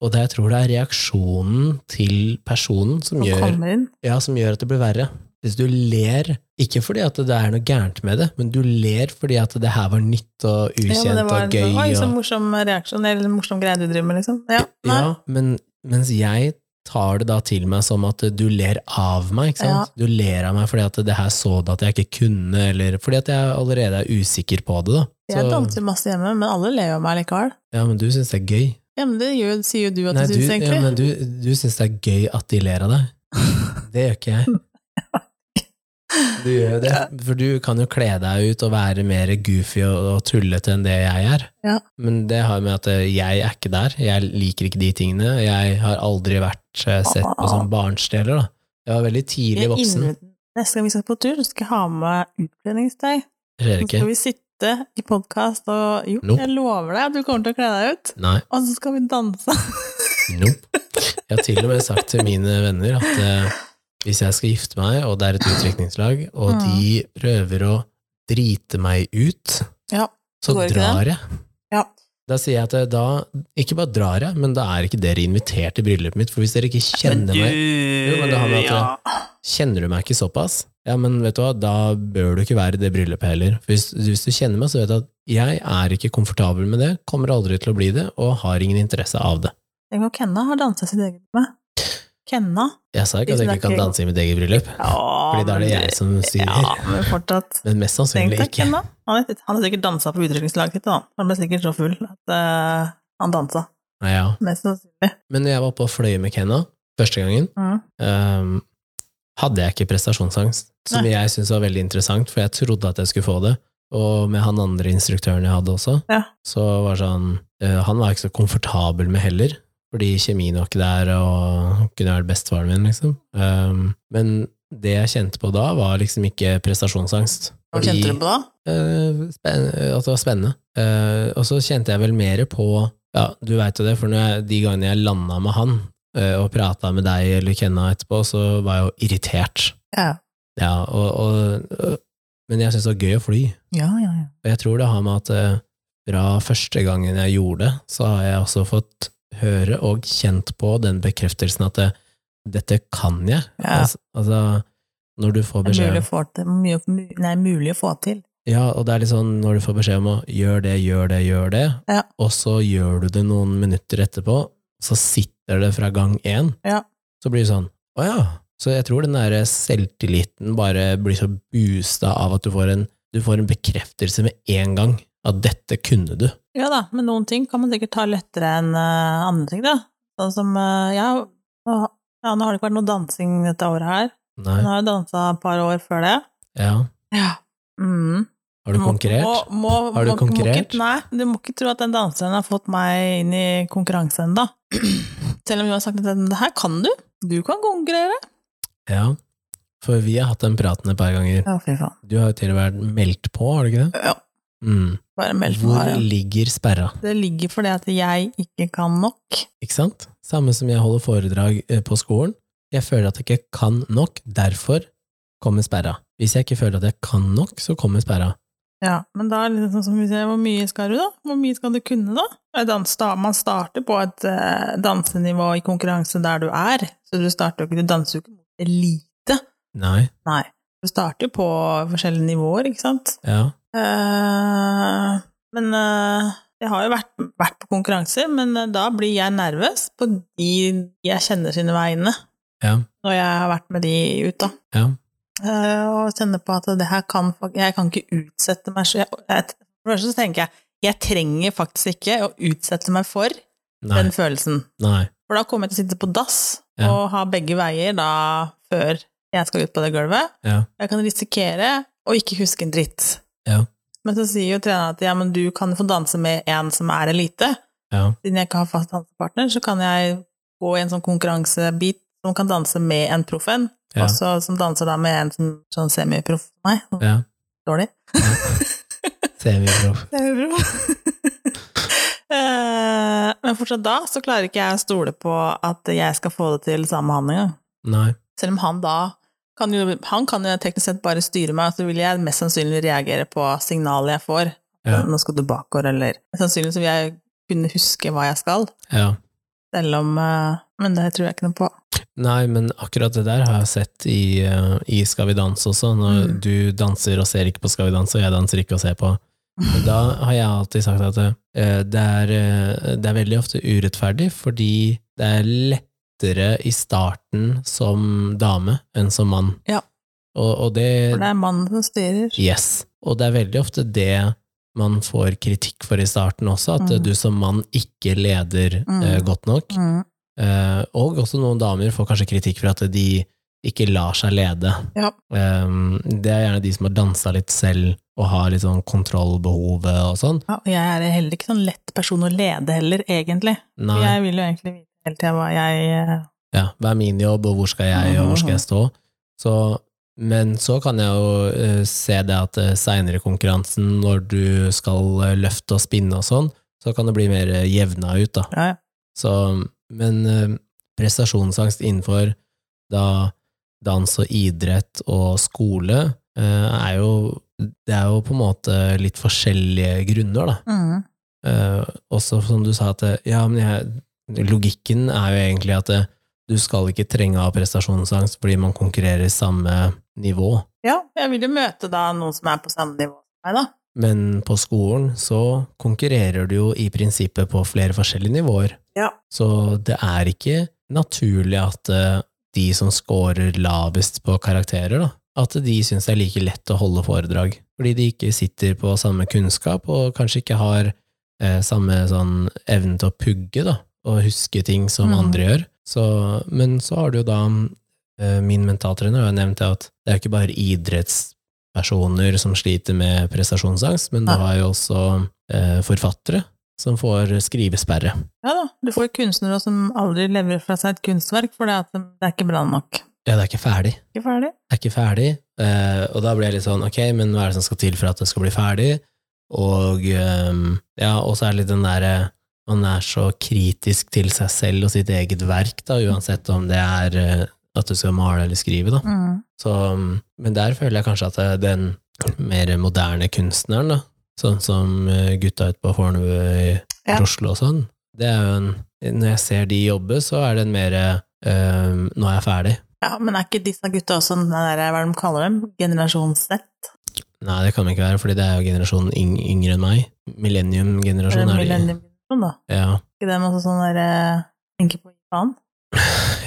Speaker 1: og det jeg tror det er reaksjonen til personen som
Speaker 2: Og
Speaker 1: gjør,
Speaker 2: kommer inn.
Speaker 1: ja, som gjør at det blir verre. Hvis du ler, ikke fordi at det er noe gærent med det, men du ler fordi at det her var nytt og
Speaker 2: Ja,
Speaker 1: ukjent
Speaker 2: men det
Speaker 1: og
Speaker 2: var en
Speaker 1: gøy.
Speaker 2: sånn, Oi, så
Speaker 1: og-
Speaker 2: morsom reaksjon, eller morsom greie du driver med, liksom. Ja, nei.
Speaker 1: Ja, men mens jeg tar det da til meg som at du ler av meg, ikke sant? Du ler av meg fordi at det her så du at jeg ikke kunne, eller fordi at jeg allerede er usikker på det, da.
Speaker 2: Jeg
Speaker 1: Så-
Speaker 2: danser masse hjemme, men alle ler jo av meg likevel.
Speaker 1: ja, men du syns det er gøy.
Speaker 2: Ja, men det gjør, sier jo du at
Speaker 1: Nei,
Speaker 2: du
Speaker 1: du,
Speaker 2: syns,
Speaker 1: ja,
Speaker 2: egentlig.
Speaker 1: men du, du syns det er gøy at de ler av deg. Det gjør ikke jeg. Du gjør jo det, for du kan jo kle deg ut og være mer goofy og, og tullete enn det jeg er.
Speaker 2: Ja.
Speaker 1: Men det har med at eh, jeg er ikke der, jeg liker ikke de tingene. Jeg har aldri vært eh, sett på som barnsdeler, da. Jeg var veldig tidlig
Speaker 2: Ah. Jeg
Speaker 1: voksen.
Speaker 2: inviterer- Neste gang vi skal på tur, så skal jeg ha med utkledningstøy.
Speaker 1: Det skjer
Speaker 2: Så
Speaker 1: ikke.
Speaker 2: skal vi sitte i podkast og Jo,
Speaker 1: Nope.
Speaker 2: jeg lover deg at du kommer til å kle deg ut.
Speaker 1: Nei.
Speaker 2: Og så skal vi danse.
Speaker 1: Nope. Jeg har til og med sagt til mine venner at eh, hvis jeg skal gifte meg, og det er et utdrikningslag, og
Speaker 2: Mm.
Speaker 1: de prøver å drite meg ut,
Speaker 2: Ja,
Speaker 1: så
Speaker 2: går ikke det?
Speaker 1: drar jeg.
Speaker 2: Ja.
Speaker 1: Da sier jeg at jeg da, ikke bare drar jeg, men da er ikke dere invitert til bryllupet mitt, for hvis dere ikke
Speaker 2: Men
Speaker 1: kjenner meg, Jo, men det har med at-
Speaker 2: ja.
Speaker 1: kjenner du meg ikke såpass, ja, men vet du hva, da bør du ikke være i det bryllupet heller. For hvis, hvis du kjenner meg, så vet du at jeg er ikke komfortabel med det, kommer aldri til å bli det, og har ingen interesse av det.
Speaker 2: Tenk om Kenna har dansa sitt eget med. Kenna?
Speaker 1: Jeg sa ikke at jeg
Speaker 2: Tusen
Speaker 1: ikke
Speaker 2: takk.
Speaker 1: kan danse i mitt eget bryllup,
Speaker 2: Ja,
Speaker 1: fordi da er det jeg som styrer.
Speaker 2: Ja, men fortsatt.
Speaker 1: Men mest
Speaker 2: Tenk
Speaker 1: sannsynlig
Speaker 2: deg
Speaker 1: ikke.
Speaker 2: Kenna. Han har han har sikkert dansa på utdrikningslaget sitt, da. Han ble sikkert så full at eh, han dansa.
Speaker 1: Nei, ja.
Speaker 2: Mest sannsynlig.
Speaker 1: Men når jeg var på Fløye med Kenna første gangen,
Speaker 2: Mm.
Speaker 1: ehm, hadde jeg ikke prestasjonsangst, som jeg syntes var veldig interessant, for jeg trodde at jeg skulle få det. Og med han andre instruktøren jeg hadde også,
Speaker 2: Ja.
Speaker 1: så var det sånn eh, Han var jeg ikke så komfortabel med heller, fordi kjemien var ikke der, og kunne vært bestefaren min, liksom. Ehm, men det jeg kjente på da, var liksom ikke prestasjonsangst.
Speaker 2: Hva kjente du på da?
Speaker 1: Eh, spenn- at det var spennende. Eh, og så kjente jeg vel mer på Ja, du veit jo det, for når jeg, de gangene jeg landa med han eh, og prata med deg eller Kenna etterpå, så var jeg jo irritert.
Speaker 2: Ja,
Speaker 1: Ja, og, og, øh, men jeg syns det var gøy å fly.
Speaker 2: ja, ja. ja.
Speaker 1: Og jeg tror det har med at eh, fra første gangen jeg gjorde det, så har jeg også fått høre og kjent på den bekreftelsen at det, dette kan jeg.
Speaker 2: Ja.
Speaker 1: Altså, altså, når du får
Speaker 2: Det
Speaker 1: beskjed
Speaker 2: er mulig
Speaker 1: om
Speaker 2: å få til. Mye, mu- nei, mulig å få til.
Speaker 1: Ja, og det er litt sånn når du får beskjed om å gjør det, gjør det, gjør det,
Speaker 2: Ja.
Speaker 1: og så gjør du det noen minutter etterpå, så sitter det fra gang én,
Speaker 2: Ja.
Speaker 1: så blir det sånn å ja. Så jeg tror den der selvtilliten bare blir så boosta av at du får en, du får en bekreftelse med en gang, at dette kunne du.
Speaker 2: Ja da, men noen ting kan man sikkert ta lettere enn eh, andre ting, da. Sånn som eh, ja, nå, ja, nå har det ikke vært noe dansing dette året her.
Speaker 1: Nei,
Speaker 2: Hun har jo dansa et par år før det.
Speaker 1: ja.
Speaker 2: Ja. Mm.
Speaker 1: Har du
Speaker 2: Må-
Speaker 1: konkurrert?
Speaker 2: Må, må,
Speaker 1: Har du
Speaker 2: må, Må
Speaker 1: konkurrert?
Speaker 2: ikke, nei, du må ikke tro at den danseren har fått meg inn i konkurranse ennå. Selv om hun har sagt at det her kan du. Du kan konkurrere.
Speaker 1: Ja. For vi har hatt den praten et par ganger.
Speaker 2: Ja, fy faen.
Speaker 1: Du har jo til og med vært meldt på, har du ikke det?
Speaker 2: Ja,
Speaker 1: Mm.
Speaker 2: bare meld på
Speaker 1: Hvor
Speaker 2: her. ja.
Speaker 1: ligger sperra?
Speaker 2: Det ligger fordi at jeg ikke kan nok.
Speaker 1: Ikke sant? Samme som jeg holder foredrag eh, på skolen. Jeg føler at jeg ikke kan nok, derfor kommer sperra. Hvis jeg ikke føler at jeg kan nok, så kommer sperra.
Speaker 2: Ja, men da er det liksom som vi sier, hvor mye skal du da? Hvor mye skal du kunne da? Jeg dans- da- Man starter på et eh, dansenivå i konkurranse der du er, så du starter jo ikke, du danser jo ikke mot elite.
Speaker 1: Nei.
Speaker 2: Nei, du starter jo på forskjellige nivåer, ikke sant?
Speaker 1: Ja.
Speaker 2: Eh, men eh, jeg har jo vært, vært på konkurranser, men eh, da blir jeg nervøs på de jeg kjenner sine vegne,
Speaker 1: Ja.
Speaker 2: når jeg har vært med de ut da.
Speaker 1: Ja.
Speaker 2: Eh, og kjenne på at det her kan fak- Jeg kan ikke utsette meg så jeg, jeg, For det første så tenker jeg jeg trenger faktisk ikke å utsette meg for
Speaker 1: Nei.
Speaker 2: den følelsen.
Speaker 1: Nei.
Speaker 2: For da kommer jeg til å sitte på dass
Speaker 1: Ja.
Speaker 2: og ha begge veier da før jeg skal ut på det gulvet.
Speaker 1: Ja.
Speaker 2: Jeg kan risikere å ikke huske en dritt.
Speaker 1: Ja.
Speaker 2: Men så sier jo treneren at ja, men du kan få danse med en som er elite.
Speaker 1: Ja.
Speaker 2: Siden jeg ikke har fast dansepartner, så kan jeg gå i en sånn konkurransebit som kan danse med en proff en,
Speaker 1: Ja.
Speaker 2: også som danser da med en som sånn semiproff som meg. Sånn
Speaker 1: Ja.
Speaker 2: Dårlig.
Speaker 1: Semiproff.
Speaker 2: Semiproff. Eh, Men fortsatt da så klarer ikke jeg å stole på at jeg skal få det til sammen med han engang.
Speaker 1: Nei.
Speaker 2: Selv om han da kan jo, han kan jo teknisk sett bare styre meg, så vil jeg mest sannsynlig reagere på signalet jeg får.
Speaker 1: Ja.
Speaker 2: Nå skal du bakover, eller Sannsynligvis vil jeg kunne huske hva jeg skal,
Speaker 1: Ja.
Speaker 2: selv om eh, Men det tror jeg ikke noe på.
Speaker 1: Nei, men akkurat det der har jeg sett i, eh, i Skal vi danse også, når
Speaker 2: Mm.
Speaker 1: du danser og ser ikke på Skal vi danse, og jeg danser ikke og ser på. Men Da har jeg alltid sagt at eh, det er, eh, det er veldig ofte urettferdig, fordi det er lettere i starten som dame enn som mann.
Speaker 2: Ja.
Speaker 1: Og, og det
Speaker 2: For det er mannen som styrer.
Speaker 1: Yes. Og det er veldig ofte det man får kritikk for i starten også, at eh,
Speaker 2: Mm.
Speaker 1: du som mann ikke leder eh,
Speaker 2: Mm.
Speaker 1: godt nok.
Speaker 2: Mm.
Speaker 1: Eh, og også noen damer får kanskje kritikk for at de ikke lar seg lede.
Speaker 2: Ja.
Speaker 1: Eh, det er gjerne de som har dansa litt selv og har litt sånn kontrollbehovet og sånn.
Speaker 2: Ja, og jeg er heller ikke sånn lett person å lede heller, egentlig.
Speaker 1: Nei,
Speaker 2: Jeg vil jo egentlig vite hele tida hva jeg eh,
Speaker 1: ja, hva er min jobb, og hvor skal jeg, og hvor skal jeg stå? Så, men så kan jeg jo eh, se det at eh, seinere i konkurransen, når du skal eh, løfte og spinne og sånn, så kan det bli mer eh, jevna ut, da.
Speaker 2: Ja, ja.
Speaker 1: Så, men eh, prestasjonsangst innenfor da dans og idrett og skole eh, er jo Det er jo på en måte litt forskjellige grunner, da.
Speaker 2: Mm.
Speaker 1: Eh, også som du sa, at eh, ja, men jeg, logikken er jo egentlig at eh, du skal ikke trenge å ha prestasjonsangst fordi man konkurrerer i samme nivå.
Speaker 2: Ja, jeg vil jo møte da noen som er på samme nivå som meg, da.
Speaker 1: Men på skolen så konkurrerer du jo i prinsippet på flere forskjellige nivåer.
Speaker 2: Ja.
Speaker 1: Så det er ikke naturlig at eh, de som scorer lavest på karakterer, da, at de syns det er like lett å holde foredrag. Fordi de ikke sitter på samme kunnskap, og kanskje ikke har eh, samme sånn evne til å pugge, da, og huske ting som
Speaker 2: Mhm.
Speaker 1: andre gjør. Så, men så har du jo da eh, Min mentaltrener har jo nevnt det at det er jo ikke bare idrettspersoner som sliter med prestasjonsangst, men du
Speaker 2: Nei.
Speaker 1: har jo også eh, forfattere som får skrivesperre.
Speaker 2: Ja da, du får kunstnere som aldri leverer fra seg et kunstverk, for det, at det er ikke bra nok.
Speaker 1: Ja, det er ikke ferdig.
Speaker 2: Ikke ferdig.
Speaker 1: er ikke ferdig. Eh, og da blir jeg litt sånn, ok, men hva er det som skal til for at det skal bli ferdig? Og ehm, ja, og så er det litt den derre man er så kritisk til seg selv og sitt eget verk, da, uansett om det er eh, at du skal male eller skrive, da.
Speaker 2: Mm.
Speaker 1: Så, mm, men der føler jeg kanskje at eh, den mer moderne kunstneren, da, sånn som eh, gutta ute på Fornebu i
Speaker 2: Ja.
Speaker 1: Oslo og sånn, det er jo en Når jeg ser de jobbe, så er det en mer ehm, Nå er jeg ferdig.
Speaker 2: Ja, men er ikke disse gutta også den der, hva er det de kaller dem, generasjon Z?
Speaker 1: Nei, det kan det ikke være, fordi det er jo generasjonen yng yngre enn meg. Millennium-generasjonen
Speaker 2: Eller
Speaker 1: er det.
Speaker 2: millennium, da.
Speaker 1: Ja,
Speaker 2: Ikke dem også sånn der, eh, tenker på faen?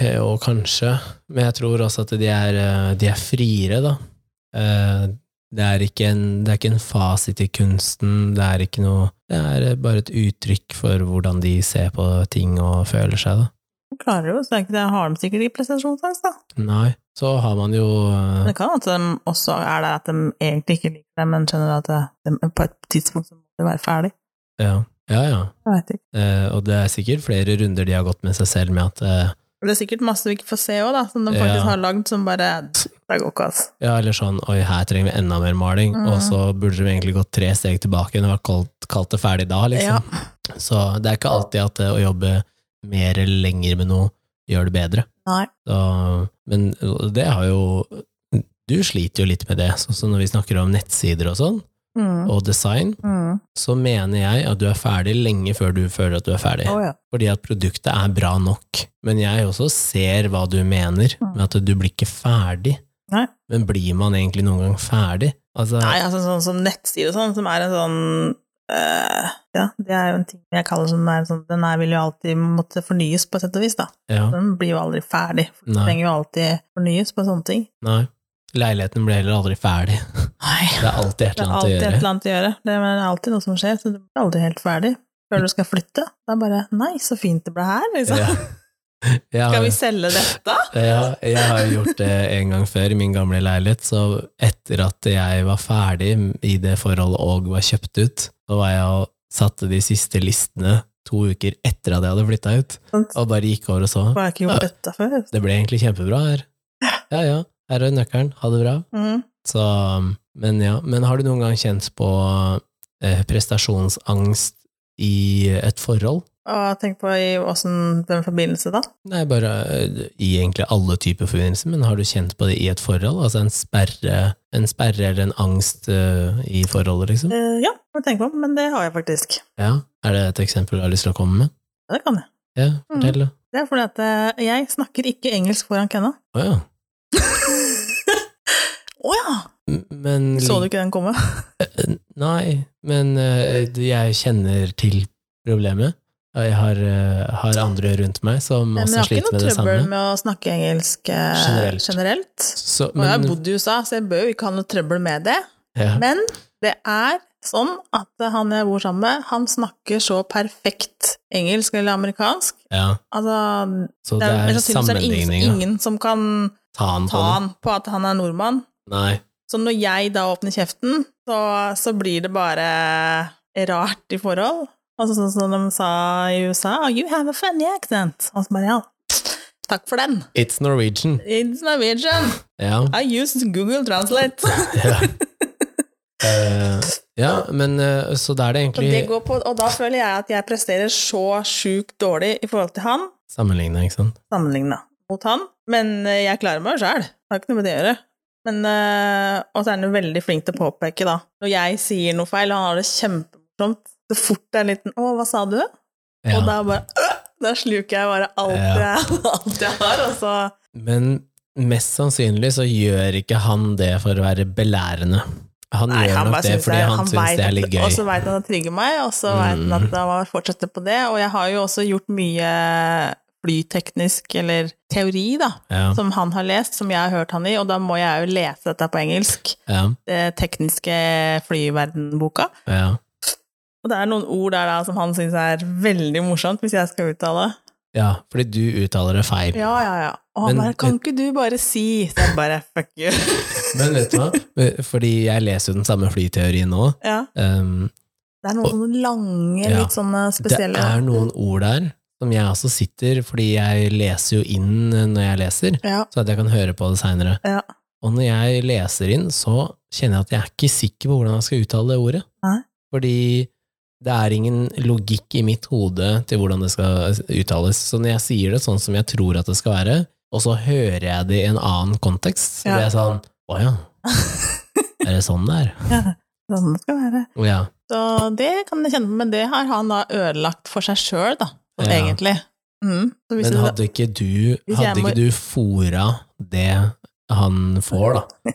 Speaker 1: jo, kanskje. Men jeg tror også at de er, eh, de er friere, da. Eh, Det er, ikke en, det er ikke en fasit i kunsten, det er ikke noe Det er eh, bare et uttrykk for hvordan de ser på ting og føler seg, da.
Speaker 2: De klarer jo, så det er ikke det, har de sikkert ikke prestasjonsangst, da.
Speaker 1: Nei. Så har man jo eh,
Speaker 2: Men det kan at de også er det at de egentlig ikke liker det, men skjønner at de på et tidspunkt så må de være ferdig.
Speaker 1: Ja, ja. ja.
Speaker 2: Jeg vet ikke.
Speaker 1: Eh, Og det er sikkert flere runder de har gått med seg selv med at eh,
Speaker 2: Det er sikkert masse vi ikke får se òg, da, som de
Speaker 1: Ja.
Speaker 2: faktisk har lagd, som bare Det går ikke, altså.
Speaker 1: Ja, eller sånn, oi, her trenger vi enda mer maling,
Speaker 2: Mhm.
Speaker 1: og så burde vi egentlig gått tre steg tilbake når vi har kalt, kalt det ferdig da, liksom. Så det er ikke alltid at det å jobbe mer eller lenger med noe gjør det bedre.
Speaker 2: Nei.
Speaker 1: Så, men det har jo Du sliter jo litt med det, sånn som når vi snakker om nettsider og sånn,
Speaker 2: Mm.
Speaker 1: og design,
Speaker 2: Mm.
Speaker 1: så mener jeg at du er ferdig lenge før du føler at du er ferdig.
Speaker 2: Å, ja.
Speaker 1: Fordi at produktet er bra nok. Men jeg også ser hva du mener med at du blir ikke ferdig.
Speaker 2: Nei.
Speaker 1: Men blir man egentlig noen gang ferdig? Altså,
Speaker 2: Nei, altså sånn som nettside og sånn, som er en sånn eh, Ja, det er jo en ting jeg kaller som er sånn Den her vil jo alltid måtte fornyes på et sett og vis, da.
Speaker 1: ja,
Speaker 2: Den blir jo aldri ferdig. for Den
Speaker 1: Nei.
Speaker 2: altså, trenger jo alltid fornyes på sånne ting.
Speaker 1: nei. Leiligheten blir heller aldri ferdig.
Speaker 2: Nei.
Speaker 1: Det er alltid et
Speaker 2: Det er
Speaker 1: eller annet å
Speaker 2: alltid et
Speaker 1: gjøre.
Speaker 2: eller annet å gjøre. Det er alltid noe som skjer, så du blir aldri helt ferdig. Før du skal flytte, det er bare 'nei, så fint det ble her', liksom.
Speaker 1: Ja.
Speaker 2: Skal vi
Speaker 1: Jeg,
Speaker 2: selge dette?
Speaker 1: har- ja, jeg har gjort det en gang før i min gamle leilighet, så etter at jeg var ferdig i det forholdet og var kjøpt ut, så var jeg og satte de siste listene to uker etter at jeg hadde flytta ut,
Speaker 2: Sånn,
Speaker 1: og bare gikk over og så.
Speaker 2: Har jeg ikke gjort dette før?
Speaker 1: Det ble egentlig kjempebra her. Ja, ja. Her er nøkkelen. Ha det bra.
Speaker 2: Mm.
Speaker 1: Så, men ja. Men har du noen gang kjent på eh, prestasjonsangst i et forhold?
Speaker 2: Og tenk på i åssen den forbindelse, da.
Speaker 1: Nei, bare eh, i egentlig alle typer forbindelser, men har du kjent på det i et forhold? Altså en sperre, en sperre eller en angst eh, i forholdet, liksom?
Speaker 2: Eh, ja, må tenke på, men det har jeg faktisk.
Speaker 1: Ja. Er det et eksempel du har lyst til å komme med?
Speaker 2: Ja, Det kan jeg.
Speaker 1: Ja, fortell, da.
Speaker 2: Det er fordi at eh, jeg snakker ikke engelsk foran Kenna.
Speaker 1: Å ja.
Speaker 2: Å ja!
Speaker 1: M- Men eh,
Speaker 2: Så du ikke den komme?
Speaker 1: Nei, men eh, jeg kjenner til problemet. Og Jeg har, eh, har andre rundt meg som
Speaker 2: Men jeg
Speaker 1: også
Speaker 2: har ikke
Speaker 1: sliter med
Speaker 2: noe
Speaker 1: det
Speaker 2: trøbbel
Speaker 1: samme.
Speaker 2: med å snakke engelsk eh,
Speaker 1: Generelt.
Speaker 2: generelt.
Speaker 1: Så,
Speaker 2: Og jeg har
Speaker 1: men,
Speaker 2: bodd i USA, så jeg bør jo ikke ha noe trøbbel med det.
Speaker 1: ja,
Speaker 2: Men det er sånn at han jeg bor sammen med, han snakker så perfekt engelsk eller amerikansk.
Speaker 1: ja,
Speaker 2: Altså,
Speaker 1: så
Speaker 2: det
Speaker 1: det
Speaker 2: er,
Speaker 1: er
Speaker 2: men sannsynligvis er det ingen,
Speaker 1: sammenligninga.
Speaker 2: ingen som kan
Speaker 1: Ta han
Speaker 2: ta
Speaker 1: på den.
Speaker 2: han på at han er nordmann.
Speaker 1: Nei.
Speaker 2: Så når jeg da åpner kjeften, så, så blir det bare rart i forhold. Altså sånn som de sa i USA, oh, you have a funny accent. Og så bare, ja, takk for den.
Speaker 1: It's Norwegian.
Speaker 2: It's Norwegian.
Speaker 1: Ja.
Speaker 2: I used Google Translate.
Speaker 1: ja. Eh, ja, men eh, så da er det
Speaker 2: Og, det
Speaker 1: egentlig
Speaker 2: går på, og da føler jeg at jeg presterer så sjukt dårlig i forhold til han,
Speaker 1: sammenligna, ikke sant?
Speaker 2: sammenligna mot han. Men eh, jeg klarer meg jo sjæl. Har ikke noe med det å gjøre. Men, eh, og så er han jo veldig flink til å påpeke, da. Når jeg sier noe feil, han har det kjempemorsomt. Så fort det er en liten 'Å, hva sa du?'
Speaker 1: Ja.
Speaker 2: Og da bare «Øh!» Da sluker jeg bare alt,
Speaker 1: Ja.
Speaker 2: jeg, alt jeg har, og så
Speaker 1: Men mest sannsynlig så gjør ikke han det for å være belærende. Han
Speaker 2: Nei,
Speaker 1: gjør
Speaker 2: han
Speaker 1: nok
Speaker 2: bare
Speaker 1: det
Speaker 2: syns
Speaker 1: fordi
Speaker 2: det-
Speaker 1: han,
Speaker 2: han
Speaker 1: syns
Speaker 2: vet
Speaker 1: det er
Speaker 2: at-
Speaker 1: litt gøy. Mm.
Speaker 2: Og så veit han at det trigger meg, og så vet han at han fortsetter på det. Og jeg har jo også gjort mye flyteknisk, eller teori, da,
Speaker 1: Ja,
Speaker 2: som han har lest, som jeg har hørt han i, og da må jeg jo lese dette på engelsk,
Speaker 1: ja,
Speaker 2: det eh, tekniske flyverdenboka.
Speaker 1: ja.
Speaker 2: Og det er noen ord der da som han syns er veldig morsomt, hvis jeg skal uttale.
Speaker 1: ja, fordi du uttaler det feil.
Speaker 2: Ja, ja, ja. Og
Speaker 1: Men-
Speaker 2: han bare 'Kan ikke du bare si?' Så jeg bare 'fuck you'.
Speaker 1: Men vet du hva? Fordi jeg leser jo den samme flyteorien nå.
Speaker 2: Ja.
Speaker 1: Um,
Speaker 2: Det er noen sånne lange,
Speaker 1: Ja.
Speaker 2: litt sånne
Speaker 1: det
Speaker 2: spesielle
Speaker 1: er noen ord der som jeg også sitter, fordi jeg leser jo inn eh, når jeg leser,
Speaker 2: Ja.
Speaker 1: så at jeg kan høre på det seinere.
Speaker 2: Ja.
Speaker 1: Og når jeg leser inn, så kjenner jeg at jeg er ikke sikker på hvordan jeg skal uttale det ordet.
Speaker 2: Nei.
Speaker 1: Fordi det er ingen logikk i mitt hode til hvordan det skal eh, uttales. Så når jeg sier det sånn som jeg tror at det skal være, og så hører jeg det i en annen kontekst, så
Speaker 2: Ja.
Speaker 1: blir jeg sånn Å ja, er det sånn det er?
Speaker 2: Ja, sånn det skal være.
Speaker 1: Å Ja.
Speaker 2: Så det kan jeg kjenne på, men det har han da ødelagt for seg sjøl, da, sånn
Speaker 1: Ja.
Speaker 2: egentlig. Mm. Så hvis
Speaker 1: Men
Speaker 2: du-
Speaker 1: hadde ikke du,
Speaker 2: jeg
Speaker 1: hadde
Speaker 2: må-
Speaker 1: ikke du fora det han får, da?